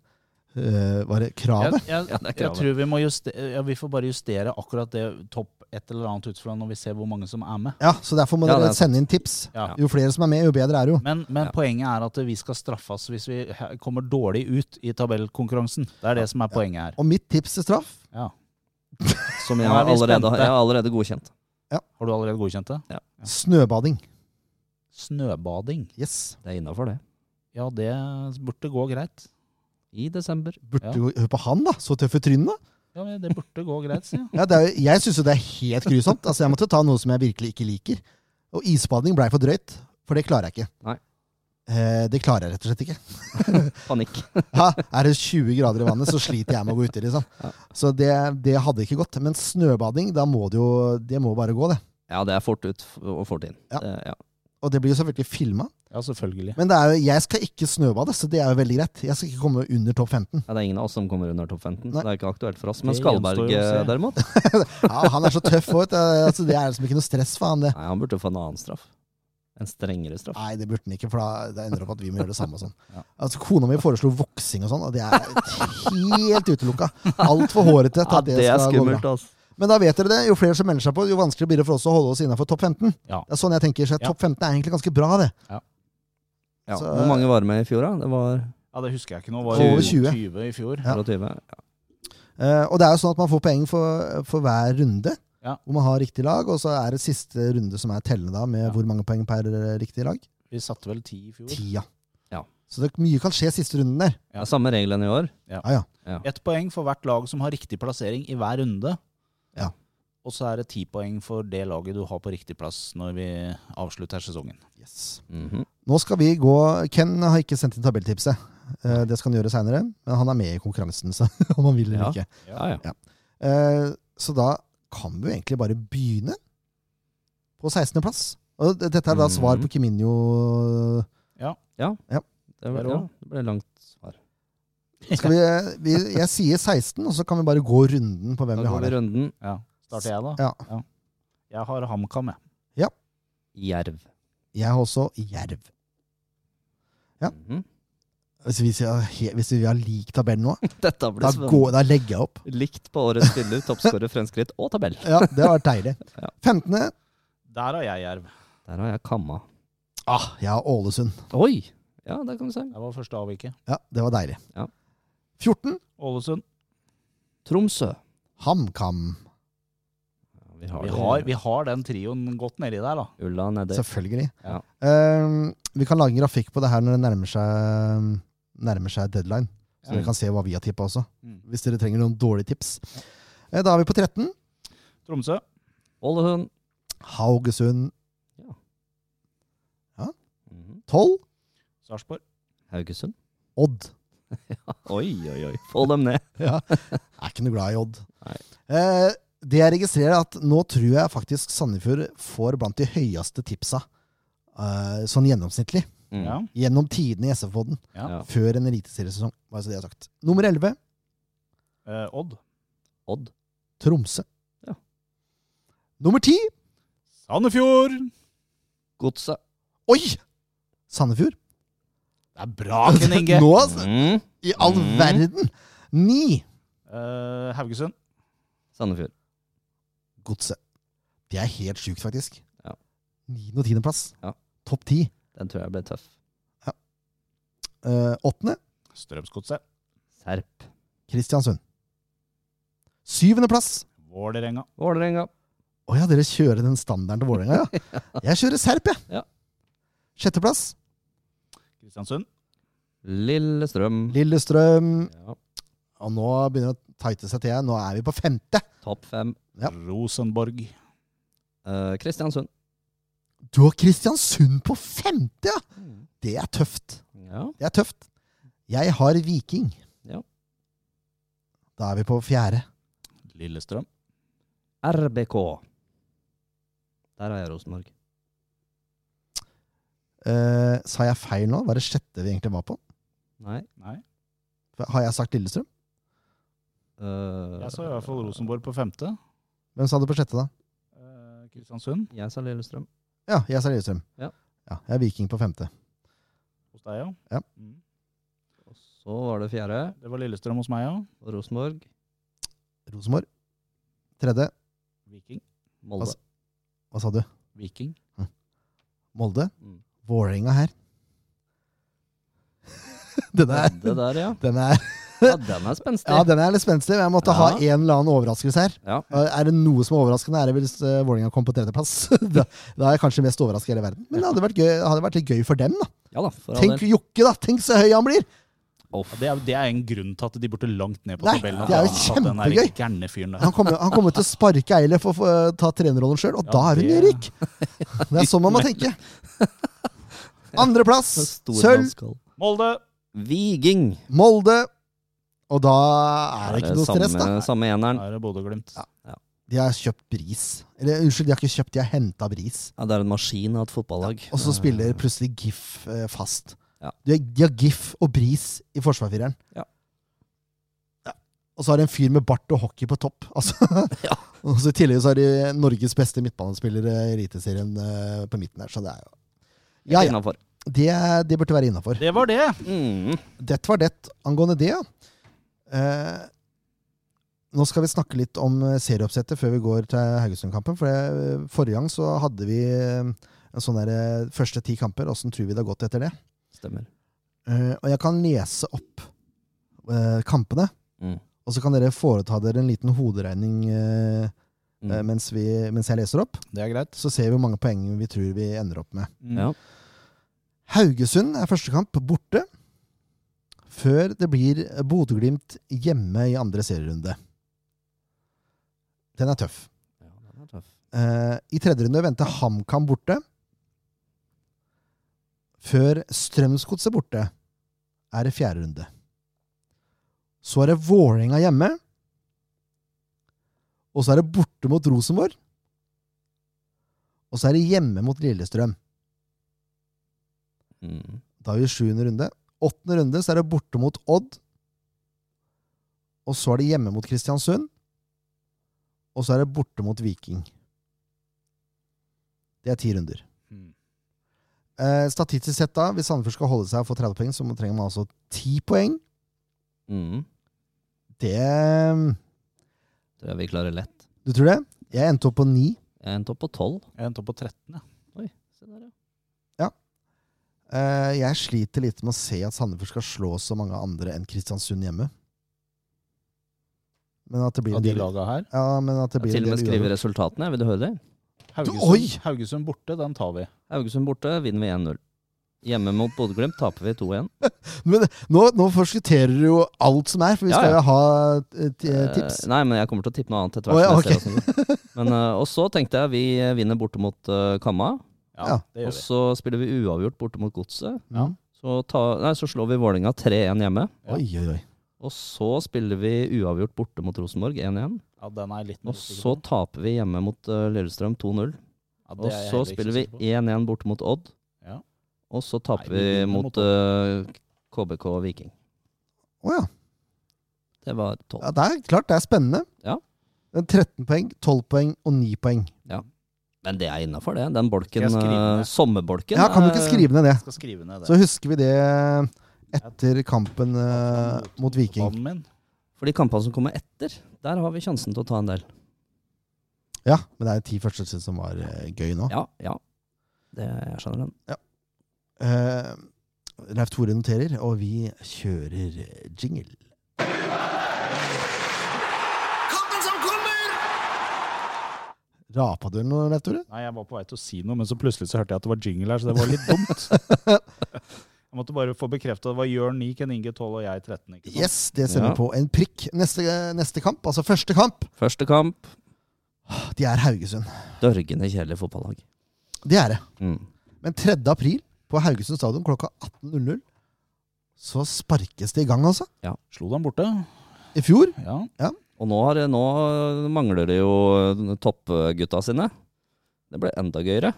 eh, Var det kravet?
Jeg, jeg,
Ja, det er
jeg
kravet.
tror vi må justere, ja, vi får bare justere akkurat det topp et eller annet ut fra når vi ser hvor mange som er med.
Ja, så derfor må
Ja, det
dere
er
sende inn tips.
Ja.
Jo flere som er med, jo bedre er det jo.
Men, men
Ja.
poenget er at vi skal straffes hvis vi he- kommer dårlig ut i tabellkonkurransen. Det er det som er poenget her.
Og mitt tips til straff
Ja.
Som jeg
Nå er
har
vi
allerede,
spente.
jeg har allerede godkjent.
Har du allerede godkjent det?
snøbading.
Snøbading.
Yes.
Det er innafor, det.
Ja, det burde gå greit.
I desember.
Burde
Ja.
du Hør på han, da! Så tøffe trynet.
Ja, men Det burde gå greit, sier jeg.
Ja, det er, jo- jeg syns jo det er helt grusomt. Altså, jeg måtte ta noe som jeg virkelig ikke liker. Og isbading blei for drøyt, for det klarer jeg ikke.
Nei.
Eh, det klarer jeg rett og slett ikke.
Panikk.
Ja, er det 20 grader i vannet, så sliter jeg med å gå uti. Liksom. Så det, det hadde ikke gått. Men snøbading, da må det jo det må bare gå, det.
Ja, det er fort ut f- og fort inn.
Ja.
Det, ja.
Og det blir jo selvfølgelig filma.
Ja, selvfølgelig.
Men det er jo, jeg skal ikke snøbade, så det er jo veldig greit. Jeg skal ikke komme under topp 15.
Ja, det er ingen av oss som kommer under topp 15,
Nei.
så det er ikke aktuelt for oss. Men
Det
Skalberg eh,
gjenstår jo å se.
derimot,
Ja, han er så tøff òg. Altså, det er liksom ikke noe stress for han, det.
Nei, han burde få en annen straff. En strengere straff.
Nei, det burde den ikke, for da det ender det opp at vi må gjøre det samme. og Sånn.
Ja.
Altså, kona mi foreslo voksing og sånn, og det er helt utelukka. Altfor hårete til
Ja,
at det,
det er
skal gå
skummelt,
bra.
altså.
Men da vet dere det. Jo flere som melder seg på, jo vanskeligere blir det for oss å holde oss innafor topp 15.
Ja.
Det er sånn jeg tenker, så
Ja.
Topp 15 er egentlig ganske bra, det.
Ja.
Så-
Hvor mange var med i fjor, da? Det var
Ja, Det husker jeg ikke nå. Var
Over
det
20.
20 i fjor?
Ja.
24? Ja.
Eh, og det er jo sånn at man får poeng for, for hver runde,
Ja.
hvor man har riktig lag. Og så er det siste runde som er tellende, da, med
Ja.
hvor mange poeng per eh, riktig lag.
Vi satte vel 10 i fjor?
Ti, ja.
Ja.
Så det, mye kan skje siste runden der.
Det er samme reglene i år.
Ja, ja.
Ett poeng for hvert lag som har riktig plassering i hver runde.
Ja.
Og så er det ti poeng for det laget du har på riktig plass når vi avslutter sesongen.
Yes.
Mhm.
Nå skal vi gå Ken har ikke sendt inn tabelltipset. Eh, Det skal han gjøre seinere. Men han er med i konkurransen, så om han vil eller
Ja.
ikke.
ja, ja.
Eh, Så da kan vi jo egentlig bare begynne på 16.-plass. Og d- dette er
Mm.
da svar på Kiminio.
Det, var, ja. det ble langt svar.
Skal vi, eh, vi, jeg sier 16, og så kan vi bare gå runden på hvem
Da
vi
går
har
vi
der.
runden.
Ja. Starter jeg, da?
Ja.
Jeg har HamKam, jeg.
Jerv.
Jeg har også Jerv. Ja.
Mhm.
Hvis vi, sier he- hvis vi har lik tabell nå,
Dette blir
da,
spennende.
går, da legger jeg opp.
Likt på årets spiller, toppskårer, fremskritt og tabell.
Ja, Det har vært deilig.
Ja.
15.
Der har jeg Jerv.
Der har jeg kamma.
Ah, jeg har Ålesund.
Oi! Ja, der kan du se.
Det var første avviket.
Ja, Det var deilig.
Ja.
14.
Ålesund.
Tromsø.
HamKam.
Ja, vi har,
Vi
det.
har, vi har den trioen godt nedi der, da.
Ulla nedi.
Selvfølgelig.
Ja.
Ehm, vi kan lage en grafikk på det her når det nærmer seg, nærmer seg deadline. Så
Ja.
dere kan se hva vi har tippa også,
Mm.
hvis dere trenger noen dårlige tips. Eh, Da er vi på 13.
Tromsø.
Ålesund.
Haugesund
Mhm.
12.
Sarpsborg.
Haugesund.
Odd.
Oi, oi, oi. Få dem ned.
Ja. Jeg er ikke noe glad i Odd.
Nei.
Eh, det jeg registrerer, er at nå tror jeg faktisk Sandefjord får blant de høyeste tipsa eh, sånn gjennomsnittlig.
Mm.
Ja.
Gjennom tidene i SF-podden.
Ja.
Ja.
Før en eliteseriesesong. Bare så det er sagt. Nummer 11.
Eh, Odd.
Odd.
Tromsø.
Ja.
Nummer 10.
Sandefjord!
Godset.
Oi! Sandefjord.
Det er bra, Ken Inge!
Nå, altså!
Mm.
I all
Mm.
verden! Ni
Eh, Haugesund.
Sandefjord.
Godset. Det er helt sjukt, faktisk.
Ja.
Niende- og tiendeplass.
Ja.
Topp ti.
Den tror jeg ble tøff.
Eh, åttende
Strømsgodset.
Serp.
Kristiansund. Syvendeplass.
Vålerenga.
Vålerenga.
Å ja, dere kjører den standarden til Vålerenga, ja. Jeg kjører Serp, jeg.
Ja.
Sjetteplass.
Kristiansund.
Lillestrøm.
Lillestrøm.
ja.
Og nå begynner det å tighte seg til. her. Nå er vi på femte.
Topp fem.
Ja.
Rosenborg.
Eh, Kristiansund.
Du har Kristiansund på femte, ja! Det er tøft.
Ja.
Det er tøft. Jeg har Viking.
Ja.
Da er vi på fjerde.
Lillestrøm.
RBK. Der har jeg Rosenborg.
Eh, sa jeg feil nå? Var det sjette vi egentlig var på?
Nei.
Nei.
Har jeg sagt Lillestrøm?
Eh,
Jeg sa i hvert fall Rosenborg på femte.
Hvem sa det på sjette, da?
Eh, Kristiansund
Jeg sa Lillestrøm.
Ja, jeg sa Lillestrøm.
Ja.
ja jeg er Viking på femte.
hos deg, ja.
Ja.
Mm.
Og så var det fjerde.
Det var Lillestrøm hos meg, ja.
og Rosenborg.
Rosenborg. Tredje.
Viking.
Molde.
Altså- Hva sa du?
Viking.
Molde.
Mm.
Vålerenga her. den er,
Det der, ja.
den er
ja. Den er spenstig.
Ja, den er litt spenstig. men Jeg måtte ha
Ja.
en eller annen overraskelse her.
Ja.
Og Er det noe som er overraskende, er det hvis uh, Vålerenga kom på tredjeplass. da, da er jeg kanskje mest overrasket i hele verden. Men det hadde vært, gøy, hadde vært litt gøy for dem, da.
Ja da, for all
Tenk
del.
Jokke, da! Tenk så høy han blir!
Off.
Ja, det, er, det er en grunn til at de burde langt ned på
Nei,
tabellen.
det er jo
at han har tatt Den der
kjempegøy.
gærne fyren der.
Han kommer, han kommer til å sparke Eilif og få, eh, ta trenerrollen sjøl, og
Ja,
da er hun
det-
nedrykk! Det er sånn man må tenke. Andreplass,
Det er stor
sølv,
mannskall.
Molde!
Viking.
Molde. Og da er det ikke noe stress, da.
samme, samme eneren.
Da er det Bodø-Glimt.
Ja. De har kjøpt Bris. Eller unnskyld, de har ikke kjøpt, de har henta Bris.
Ja, det er en maskin av et fotballag. Eh,
Og så spiller plutselig GIF eh, fast.
Ja.
De, har, de har GIF og Bris i forsvarsfireren.
Ja.
Ja. Og så har de en fyr med bart og hockey på topp. Altså.
Ja.
og så I tillegg så har de Norges beste midtbanespiller i Eliteserien eh, på midten her, så det er jo Ja, ja.
Innafor.
Det, er- det burde være innafor.
Det var det!
Mm.
Det var det angående det, ja. Eh, nå skal vi snakke litt om eh, serieoppsettet før vi går til Haugesund-kampen. For det, forrige gang så hadde vi eh, en sånn der eh, første ti kamper. Åssen tror vi det har gått etter det?
Stemmer.
Eh, og jeg kan lese opp eh, kampene,
Mm.
og så kan dere foreta dere en liten hoderegning eh,
Mm.
eh, mens, vi, mens jeg leser opp.
Det er greit.
Så ser vi hvor mange poeng vi tror vi ender opp med.
Mm.
Ja.
Haugesund er første kamp borte, før det blir Bodø-Glimt hjemme i andre serierunde. Den er tøff.
ja, den er tøff.
Eh, I tredje runde venter HamKam borte. Før Strømsgodset borte er det fjerde runde. Så er det Vålerenga hjemme. Og så er det borte mot Rosenborg. Og så er det hjemme mot Lillestrøm.
Mm.
Da er vi i sjuende runde. Åttende runde så er det borte mot Odd. Og så er det hjemme mot Kristiansund. Og så er det borte mot Viking. Det er ti runder.
Mm.
Eh, statistisk sett, da, hvis Sandefjord skal holde seg og få 30 poeng, så må- trenger man altså ti poeng.
Mm.
Det mm,
Tror jeg vi klarer lett.
Du tror det? Jeg endte opp på ni.
Jeg endte opp på tolv.
Jeg endte opp på 13, ja.
Se der, ja.
Eh, jeg sliter litt med å se at Sandefjord skal slå så mange andre enn Kristiansund hjemme. Men at det blir
Av
en
de
del,
laga her.
ja, men at det
Jeg
blir
til
en
og med
del
skriver resultatene. Vil du høre det?
oi!
Haugesund, Haugesund borte, den tar vi.
Haugesund borte vinner vi 1-0. Hjemme mot Bodø-Glimt taper vi 2-1.
Men nå, nå forskutterer du jo alt som er, for vi
Ja, ja.
skal jo ha eh, ti- eh, tips.
Eh, nei, men jeg kommer til å tippe noe annet etter
Å, ja,
hvert. som jeg ser hvordan det går. Men, eh, og så tenkte jeg vi eh, vinner borte mot eh, Kamma.
Ja,
Ja.
det
Og
gjør vi.
så spiller vi uavgjort borte mot Godset.
Ja.
Så, ta, nei, så slår vi Vålerenga 3-1 hjemme.
Oi, oi, oi.
Og så spiller vi uavgjort borte mot Rosenborg 1-1.
Ja, den er jeg litt mer
Og
usikker
så
på.
taper vi hjemme mot eh, Lillestrøm 2-0.
Ja, det
Og
er jeg
så
heller ikke
spiller vi
sikker på.
1-1 borte mot Odd.
Ja.
Og så taper
Nei, vi
vi
vinner mot
mot eh, KBK og Viking.
Å ja.
Det var tolv.
ja. Det er klart det er spennende.
Ja.
Det er 13 poeng, 12 poeng og 9 poeng.
Men det er innafor, det. Den bolken,
Skal jeg skrive
eh,
ned?
sommerbolken
Ja, kan du ikke
er-
skrive ned det?
Jeg skal skrive ned det.
Så husker vi det etter kampen eh, mot Viking.
Mannen min.
For de kampene som kommer etter, der har vi sjansen til å ta en del.
Ja, men det er ti første sett som var eh, gøy nå.
Ja, ja. Det, jeg skjønner den.
Eh, Leif Tore noterer, og vi kjører eh, jingle.
Kampen som kommer!
Rapa du noe, Leif Tore?
Nei, jeg var på vei til å si noe, men så plutselig så hørte jeg at det var jingle her, så det var litt dumt. Jeg måtte bare få bekrefta det var Jørn 9, Ken Inge 12 og jeg 13. ikke sant?
Yes, det sender
Ja.
på en prikk. Neste, neste kamp, altså første kamp,
Første kamp,
de er Haugesund.
dørgende kjedelig fotballag.
Det er det.
Mm.
Men 3. april på Haugesund stadion klokka 18.00 så sparkes det i gang, altså.
Slo dem borte.
I fjor.
Ja.
Og nå, har, nå eh, mangler det jo toppgutta sine. Det ble enda gøyere.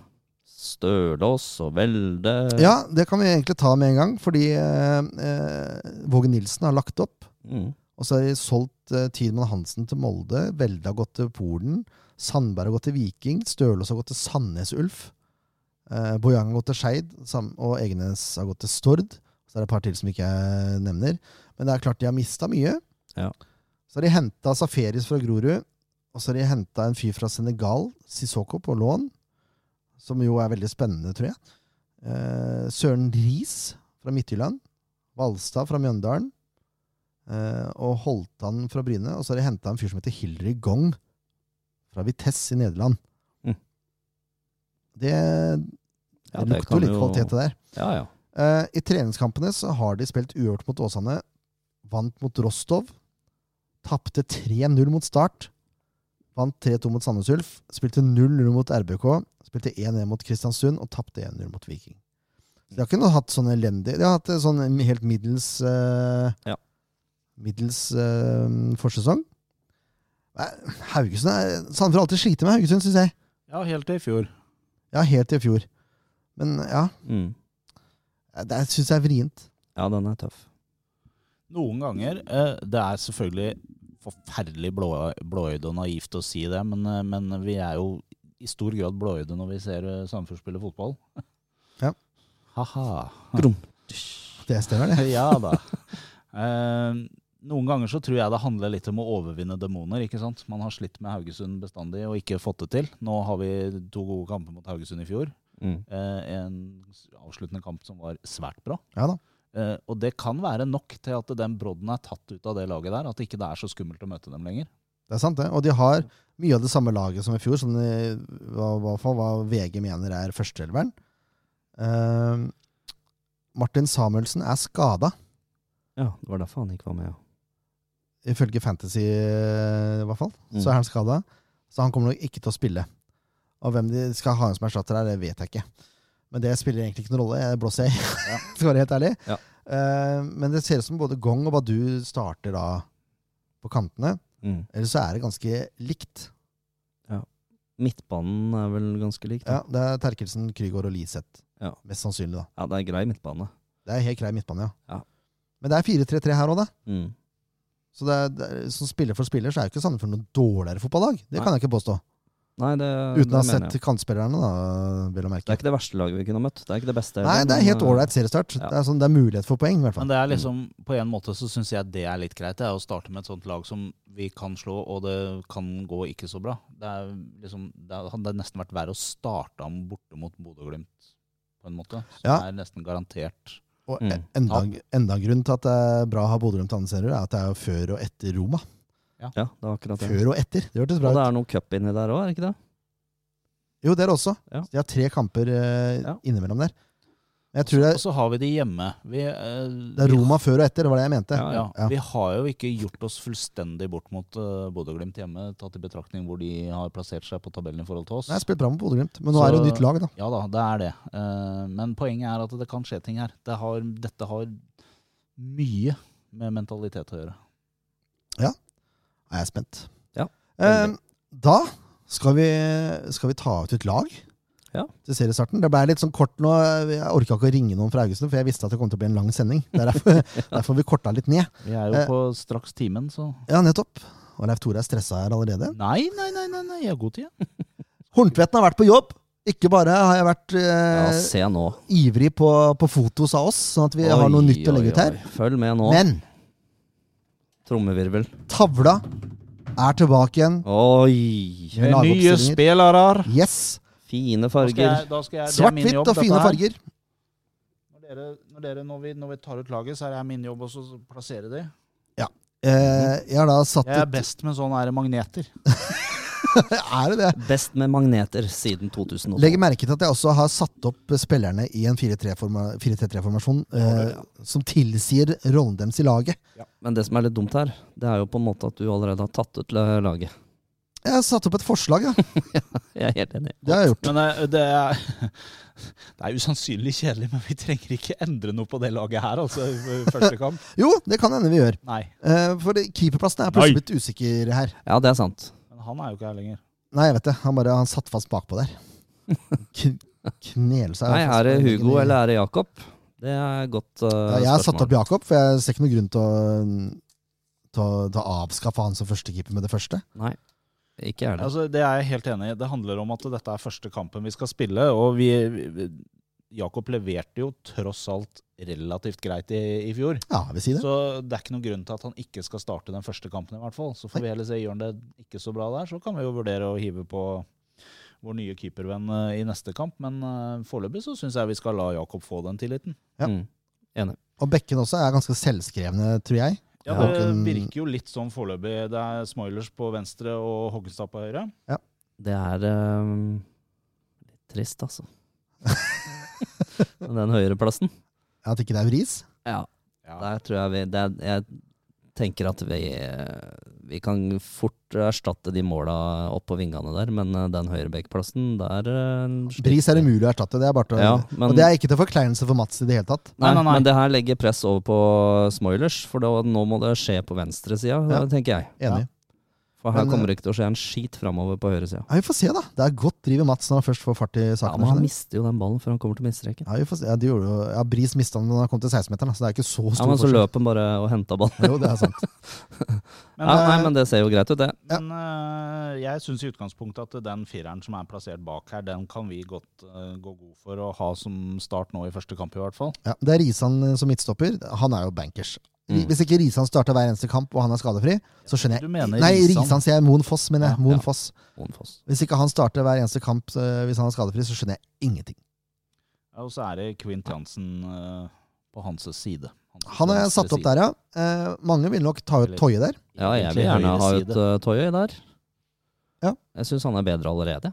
Stølås og Velde.
Ja, det kan vi egentlig ta med en gang, fordi eh, eh, Våge Nilsen har lagt opp.
Mm.
Og så har de solgt eh, Tidmann Hansen til Molde. Velde har gått til Polen. Sandberg har gått til Viking. Stølås har gått til Sandnes Ulf. Eh, Bojang har gått til Skeid. sam- Og Egenes har gått til Stord. Så er det et par til som ikke jeg nevner. Men det er klart de har mista mye.
Ja.
Så har de henta Safaris fra Grorud. Og så har de henta en fyr fra Senegal, Sissoko, på lån. Som jo er veldig spennende, tror jeg. Eh, Søren Riis fra Midtjylland. Valstad fra Mjøndalen. Eh, og Holtan fra Bryne. Og så har de henta en fyr som heter Hilary Gong fra Vitesse i Nederland.
Mm.
Det,
Ja,
det
det
lukter
kan
jo litt
jo-
kvalitet til det der.
Ja, ja.
Eh, I treningskampene så har de spilt uavgjort mot Åsane, vant mot Rostov, tapte 3-0 mot Start, vant 3-2 mot Sandnes Ulf, spilte 0-0 mot RBK, spilte 1-1 mot Kristiansund og tapte 1-0 mot Viking. Så de har ikke noe hatt sånn elendig De har hatt en sånn helt middels eh,
Ja.
Middels eh, forsesong. Nei, Haugesund er Sandefjord har alltid slitt med Haugesund, syns jeg.
Ja, helt til i fjor.
Ja, helt til i fjor. Men ja,
Mm.
det syns jeg er vrient.
Ja, den er tøff.
Noen ganger eh, Det er selvfølgelig forferdelig blå, blåøyd og naivt å si det, men, eh, men vi er jo i stor grad blåøyde når vi ser eh, Sandefjord spille fotball.
Ja.
Ha-ha.
Det stemmer, det.
Ja da. Eh, noen ganger så tror jeg det handler litt om å overvinne demoner. ikke sant? Man har slitt med Haugesund bestandig og ikke fått det til. Nå har vi to gode kamper mot Haugesund i fjor.
Mm.
Eh, en avsluttende kamp som var svært bra.
Ja da.
Eh, og det kan være nok til at den brodden er tatt ut av det laget der. At ikke det er så skummelt å møte dem lenger.
Det er sant, det. Og de har mye av det samme laget som i fjor, som i hva, hva, for- hva VG mener er førsteelveren. Ehm, Martin Samuelsen er skada,
Ja, det var derfor han ikke var med. Ja.
ifølge Fantasy eh, i hvert fall.
Mm.
Så er han skada, så han kommer nok ikke til å spille. Og hvem de skal ha inn som erstatter her, det vet jeg ikke. Men det spiller egentlig ikke noen rolle, jeg blåser i, skal være helt ærlig.
Ja.
Ehm, men det ser ut som både Gong og Badu starter da på kantene.
Mm.
Ellers så er det ganske likt.
Midtbanen er vel ganske lik.
Ja,
da.
det er Terkelsen, Krygård og Liseth.
Ja.
Mest sannsynlig, da.
Ja, det er grei midtbane.
Det er helt grei midtbane, ja.
Ja.
Men det er 4-3-3 her òg, da.
Mm.
Så det er, det er, som spiller for spiller så er jo ikke Sandefjord noe dårligere fotballag. Det kan jeg ikke påstå.
Nei, det,
Uten å
det
ha
mener
sett
jeg.
kantspillerne, da, vel å
Det
merke.
er ikke det verste laget vi kunne ha møtt. Det er ikke det beste.
Nei,
heller,
det er
men,
helt
eh,
ålreit seriestart.
Ja.
Det er sånn, det er mulighet for poeng, i hvert
Men
fall.
det er liksom, på en måte så syns jeg det er litt greit. Det er å starte med et sånt lag som vi kan slå, og det kan gå ikke så bra. Det, er liksom, det hadde nesten vært verre å starte ham borte mot Bodø-Glimt, på en måte. Så
Ja.
det er nesten garantert.
Og
Mm.
e- enda, enda en grunn til at det er bra å ha Bodø Glimt andre serier, er at det er jo før og etter Roma.
Ja, det er akkurat det.
Før og etter. Det hørtes bra
Og det
ut.
er noe cup inni der òg, er det ikke det?
Jo, det er det også.
Ja.
De har tre kamper eh,
Ja.
innimellom der. Men Jeg tror det
Og
er,
så har vi de hjemme. Vi, eh,
Eh. det er Roma før og etter, det var det jeg mente.
Ja,
Ja,
Ja.
Vi har jo ikke gjort oss fullstendig bort mot uh, Bodø-Glimt hjemme, tatt i betraktning hvor de har plassert seg på tabellen i forhold til oss.
Nei, jeg har spilt bra med Bodø-Glimt, men nå
Så-
er det jo nytt lag, da.
Ja da, det er det. Eh, men poenget er at det kan skje ting her. Det har, dette har mye med mentalitet å gjøre.
Jeg er spent.
Ja,
Eh, da skal vi, skal vi ta ut et lag
Ja.
til seriestarten. Det ble litt sånn kort nå. Jeg orka ikke å ringe noen fra Haugesund, for jeg visste at det kom til å bli en lang sending. Det er Derfor, derfor vi korta litt ned.
Vi er jo
Eh.
på straks timen, så
Ja, nettopp. Og Leif Tore er stressa her allerede.
Nei, nei, nei, nei, nei, jeg har god tid. jeg.
Horntvedten har vært på jobb. Ikke bare har jeg vært eh,
Ja, se nå.
ivrig på, på fotos av oss, sånn at vi har
Oi,
noe nytt å
oi,
legge ut her.
oi. Følg med nå.
Men
Trommevirvel.
tavla er tilbake igjen.
Oi!
Med
Nye
lagoppstillinger.
spillere!
Yes.
Fine
Da skal jeg-
farger.
da skal jeg- det er min
Svart-hvitt
jobb,
og
dette
fine
her.
farger.
Når, dere, når, dere, når, vi, når vi tar ut laget, så er det min jobb også å plassere de.
Eh, jeg har da satt
Jeg er
ut
best med sånne her magneter.
Er det det?
Best med magneter siden 2002.
Legg merke til at jeg også har satt opp spillerne i en 4-3-3-formasjon eh, som tilsier rollen deres i laget.
Men det som er litt dumt her, det er jo på en måte at du allerede har tatt ut la- laget.
Jeg har satt opp et forslag, da.
Jeg er helt enig.
Det har jeg gjort.
Men eh, det er, det er usannsynlig kjedelig, men vi trenger ikke endre noe på det laget her, altså. i Første kamp.
Jo, det kan hende vi gjør.
Nei.
Eh, for det- keeperplassen er
Nei.
plutselig blitt usikker her.
Ja, det er sant.
Men han er jo ikke her lenger.
Nei, jeg vet det. Han bare han satt fast bakpå der. K- Knele seg.
Nei, er det Hugo
Ingen-
eller er det Jakob? Det er godt uh,
ja, Jeg har satt opp
spørsmål.
Jakob, for jeg ser ikke noen grunn til å mm, til å- til å avskaffe han som førstekeeper med det første.
Nei, ikke jeg heller.
Altså, det er jeg helt enig i. Det handler om at dette er første kampen vi skal spille. Og vi, vi, Jakob leverte jo tross alt relativt greit i, i fjor.
Ja, jeg vil si det.
Så det er ikke noen grunn til at han ikke skal starte den første kampen. i hvert fall. Så får vi heller se, gjør han det ikke så bra der, så kan vi jo vurdere å hive på vår nye keepervenn eh, i neste kamp. Men eh, foreløpig så syns jeg vi skal la Jakob få den tilliten.
ja.
Mm.
Og Bekken også er ganske selvskrevne, tror jeg.
Ja,
Ja.
Det
Håkon-
virker jo litt sånn foreløpig. Det er Smoilers på venstre og Hoggenstad på høyre.
Det er ehm, litt trist, altså. Den høyreplassen.
At ikke det er vris.
Ja,
Ja.
der tror jeg vi det, er- Jeg tenker at vi, eh, vi kan fort erstatte de måla opp på vingene der, men eh, den høyrebekkplassen, der eh, sliter
Bris er
vi.
umulig å erstatte. Det er bare til, å-
Ja, men,
Og det er ikke til forkleinelse for Mats i det hele tatt.
nei,
Nei, nei, nei.
men det her legger press over på Smoilers, for da, nå må det skje på venstresida,
Ja.
tenker jeg.
Enig.
For her
Men, eh,
kommer det ikke til å skje en skit framover på høyresida.
Ja, vi får se, da. Det er godt driv i Mats når han først får fart i
Ja, men
saken.
han
skjønner du.
mister jo den ballen før han kommer til midtstreken.
ja, vi får se. Ja, det gjorde jo ja, Bris mista den da han kom til 16-meteren, da, så det er ikke så
Ja,
stor
men så løp han bare og henta ballen.
Jo, det er sant.
Men,
ja, nei,
eh,
men det ser jo greit ut, det.
Men eh, jeg syns i utgangspunktet at den fireren som er plassert bak her, den kan vi godt eh, gå god for å ha som start nå i første kamp, i hvert fall.
Ja, det er Risan eh, som midtstopper. Han er jo bankers. Ri-
Mm.
Hvis ikke Risan starter hver eneste kamp og han er skadefri, så skjønner jeg
Du mener
Nei,
Risan?
Risan sier jeg. Moen Foss, mener jeg.
Ja,
Moen
ja.
Foss.
Monfoss.
Hvis ikke han starter hver eneste kamp eh, hvis han er skadefri, så skjønner jeg ingenting.
Ja, og så er det Quint Jansen eh, på hans side.
Han er satt opp der, ja. Eh, mange vil nok ta ut
Eller-
Toje der.
Ja, jeg vil gjerne ha ut uh, Toyøy der.
Ja.
Jeg syns han er bedre allerede.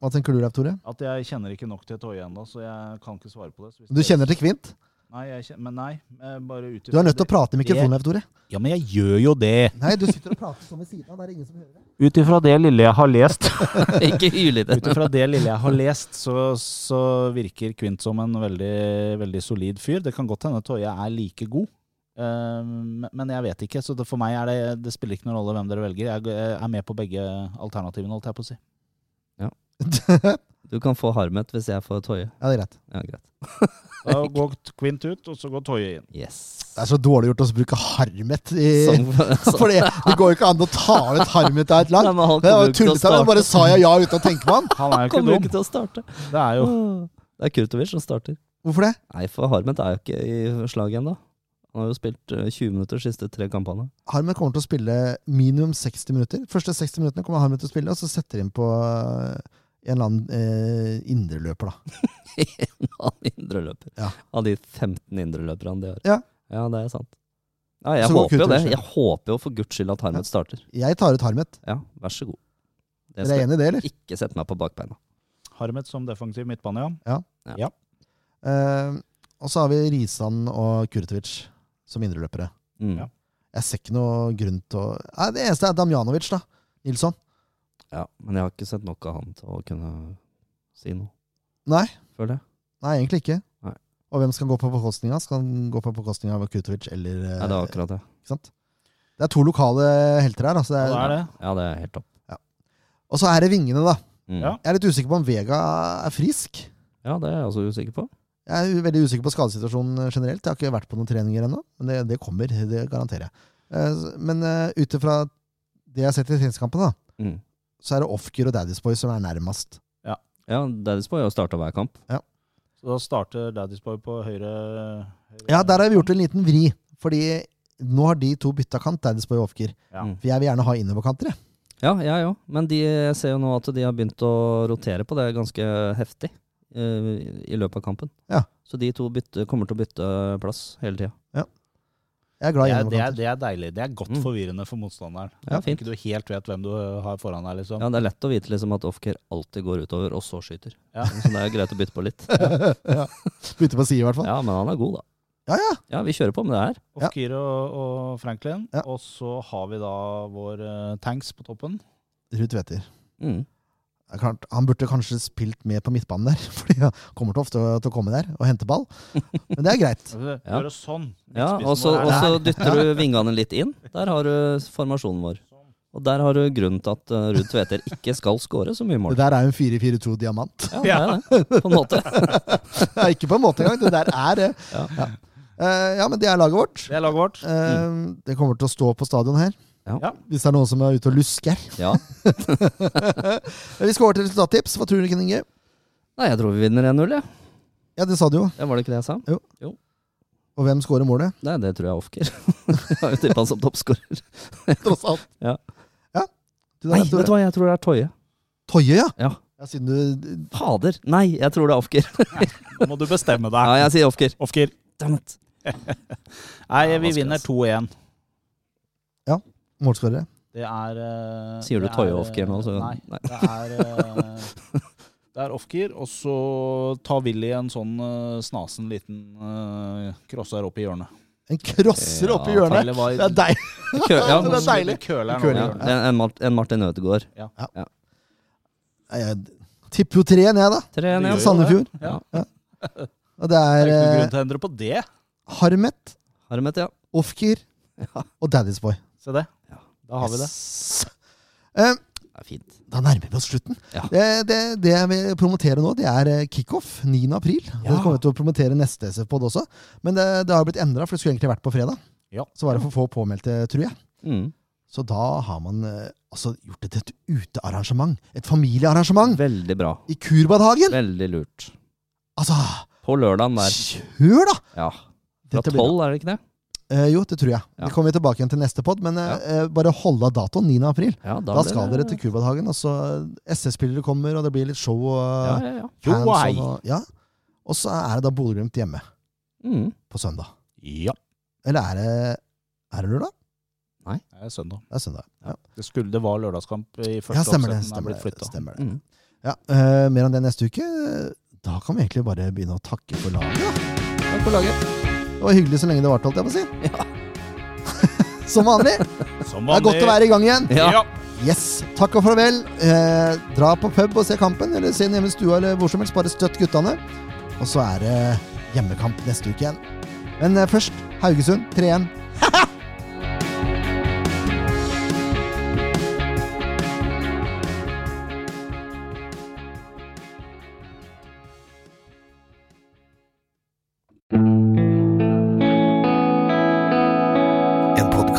Hva tenker du, Leif Tore?
At jeg kjenner ikke nok til Toje ennå, så jeg kan ikke svare på det. Så hvis
Du kjenner til Kvint?
Nei, jeg kjenner, men nei. eh, Bare ut
Du er nødt til å prate i mikrofonen, Leif Tore.
Ja, men jeg gjør jo det!
Nei, du sitter og prater sånn ved siden av. Det er ingen som hører deg.
Ut ifra det lille jeg har lest,
ikke hyl i det.
Ut ifra det lille jeg har lest, så, så virker Kvint som en veldig, veldig solid fyr. Det kan godt hende Toje er like god, eh, men- men jeg vet ikke. Så det, for meg er det, det spiller ikke noen rolle hvem dere velger. Jeg er med på begge alternativene, holdt jeg på å si.
Du kan få Harmet hvis jeg får Toyøy.
Ja, det er greit.
Ja, greit.
Da går Kvint ut, og så går Toje inn.
Yes.
Det er så dårlig gjort å bruke harmet i
Som- som-
For det, det går jo ikke an å ta ut harmet av et lag.
Nei, men han
Det
kommer
var jo
jo ikke til å
tullete. men Bare
starte.
sa jeg ja uten å tenke meg om.
Han er jo ikke
Kommer jo
dum.
ikke til å starte.
Det er jo
Åh, Det er Kurtovic som starter.
Hvorfor det?
Nei, for Harmet er jo ikke i slaget ennå. Han har jo spilt eh, 20 minutter de siste tre kampene.
Harmet kommer til å spille minimum 60 minutter. Første 60 minuttene kommer Harmet til å spille, og så setter de inn på eh, en eller annen eh, indreløper, da.
Han indreløper.
Ja.
Av de 15 indreløperne de har.
Ja.
ja, det er sant. Ja, jeg
Så går
håper jo det.
Kurtovic.
Jeg håper jo for guds skyld at Harmet starter.
Jeg tar ut Harmet.
Ja, vær så god. Det
Dere er
skal
enig i det, eller?
jeg ikke sette meg på bakbeina.
Harmet som defensiv midtbane, ja.
Eh, og så har vi Risan og Kurtovic som indreløpere.
Mm.
Ja.
Jeg ser ikke noe grunn til å Nei, Det eneste er Damjanovic, da. Nilsson.
Ja, men jeg har ikke sett nok av han til å kunne si noe,
Nei,
føler jeg.
nei egentlig ikke.
Nei.
Og hvem skal gå på bekostning av? Skal han gå på bekostning av Kurtovic eller eh,
Nei, det er akkurat det.
Ikke sant? Det er to lokale helter her. Altså det er,
Og da er det.
Ja, det er helt topp.
og så er det vingene, da.
Mm.
Ja.
Jeg er litt usikker på om Vega er frisk.
ja, det er jeg også usikker på.
Jeg er veldig usikker på skadesituasjonen eh, generelt. Jeg har ikke vært på noen treninger ennå, men det, det kommer. Det garanterer jeg. Eh, Men eh, ut ifra det jeg har sett i treningskampen, da,
Mm.
så er det Ofker og Daddy's Boy som er nærmest.
Ja, Daddies Boy har jo starta hver kamp.
Så da starter Daddy's Boy på høyre, høyre
Ja, der har vi gjort en liten vri. Fordi nå har de to bytta kant, Daddy's Boy og Ofker.
Ja.
Mm.
For jeg vil gjerne ha innoverkanter, jeg.
Ja, jeg òg. Men de, jeg ser jo nå at de har begynt å rotere på det ganske heftig eh, i løpet av kampen.
Ja.
Så de to bytte, kommer til å bytte plass hele tida.
Jeg er glad i
Det er, det, er,
innoverkanter.
det er deilig. Det er godt
Mm.
forvirrende for motstanderen.
Ja,
At
fint.
Ikke du helt vet hvem du har foran deg, liksom.
Ja, det er lett å vite liksom at Ofker alltid går utover, og så skyter.
Ja.
Så det er greit å bytte på litt.
ja. Bytte på side, i hvert fall.
Ja, men han er god, da.
Ja, ja.
Ja, vi kjører på med det her.
Ja.
Ofkir og, og Franklin.
Ja.
Og så har vi da vår eh, tanks på toppen.
Ruud Tveter.
Mm.
Det er klart, Han burde kanskje spilt med på midtbanen der, Fordi han kommer til ofte å- til å komme der og hente ball. Men det er greit.
Gjøre sånn.
Ja,
Midtspissen
og så
vår er
og så
der.
dytter du vingene litt inn. Der har du formasjonen vår. Og der har du grunnen til at eh, Ruud Tveter ikke skal skåre så mye
Det
mål.
der er jo en 4-4-2 diamant.
Ja, det er det, på en måte.
Ja, ikke på en måte engang. Det der er det.
Ja.
Ja. Eh, ja, men det er laget vårt.
Det er laget vårt.
Eh, Det kommer til å stå på stadion her.
Ja.
Ja.
Hvis det er noen som er ute og lusker.
Ja.
Vi skal over til resultattips. Hva tror du, Ken Inge?
Nei, jeg tror vi vinner 1-0, jeg.
Ja, det sa du jo.
Ja. Var det ikke det jeg sa?
Og hvem scorer målet?
Nei, det tror jeg er Ofker. jeg har jo tippa han som toppskårer.
Tross alt.
Ja.
ja. Du,
Nei,
da,
vet du hva, jeg tror det er Toje.
Toye, ja.
Ja.
ja! Siden du eh,
Fader! Nei, jeg tror det er Ofker.
Nå må du bestemme
Ja,
deg.
jeg sier Ofker.
Ofker.
Ah. Damn it.
Nei,
Ja,
vi
vanskelig,
vinner
ass.
2-1.
målskårere.
Det er eh,
Sier du
det
Toye
er, eh,
Ofker nå, så
Nei. Det er, eh, det er off-gear, og så tar Willy en sånn eh, snasen liten eh, crosser opp i hjørnet.
En crosser
Ja,
oppe i hjørnet!
Eller hva-
Det er deg!
Kø ja.
Det er deilig.
Køler nå i
Ja,
hjørnet.
en, Mar- en Martin Ødegaard.
Nei, Jeg tipper jo 3-1, jeg, da.
3-1,
Det
ja.
gjør jo
Sandefjord.
det. Ja.
Og det
Det
er
er ikke noen grunn
eh,
til å endre på det.
Harmet,
Harmet, ja.
Ofker
Ja.
og Daddy's Boy.
Se det.
Ja.
Da har vi det.
Yes. Eh,
Det er fint.
Da nærmer vi oss slutten.
Ja.
Det, det, det jeg vil promotere nå, det er eh, kickoff 9. april. Det
Ja.
kommer vi til å promotere neste SF-pod også. Men det, det har blitt endra, for det skulle egentlig vært på fredag.
Ja.
Så var det for få påmeldte, tror jeg.
Mm.
Så da har man eh, altså gjort det til et utearrangement. Et familiearrangement
Veldig bra.
i Kurbadhagen!
Veldig lurt.
Altså,
På lørdagen der.
kjør, da!
Ja. Fra
Dette blir bra.
tolv, er det ikke det?
Eh, jo, det tror jeg.
Ja.
Det kommer vi tilbake igjen til neste pod, men eh, eh, bare hold av datoen 9. april.
Ja,
Da,
blir
skal
det-
dere til Kurbadhagen. Og så SS-spillere kommer, og det blir litt show. Og, eh,
Ja, ja, ja.
Jo,
fans og-
hei.
ja. og så er det da Bodø-Glimt hjemme
Mm.
på søndag.
Ja.
Eller er det, er det lørdag?
Det er søndag.
Det er søndag. Ja,
Det, skulle, det var lørdagskamp i første
ja stemmer det.
oppsett,
Stemmer
men er blitt
det,
flyttet.
stemmer det.
Mm.
Ja, eh, mer om det neste uke. eh, Da kan vi egentlig bare begynne å takke for laget. da.
Takk for laget.
Det var hyggelig så lenge det varte, holdt jeg på å si. Som vanlig. Det
Som
er godt å
vanlig.
være i gang igjen.
Ja.
Ja.
Yes, takk og farvel. Eh, dra på pub og se kampen, eller se den hjemme i stua eller hvor som helst. Bare støtt guttene. Og så er det hjemmekamp neste uke igjen. Men eh, først Haugesund 3-1. En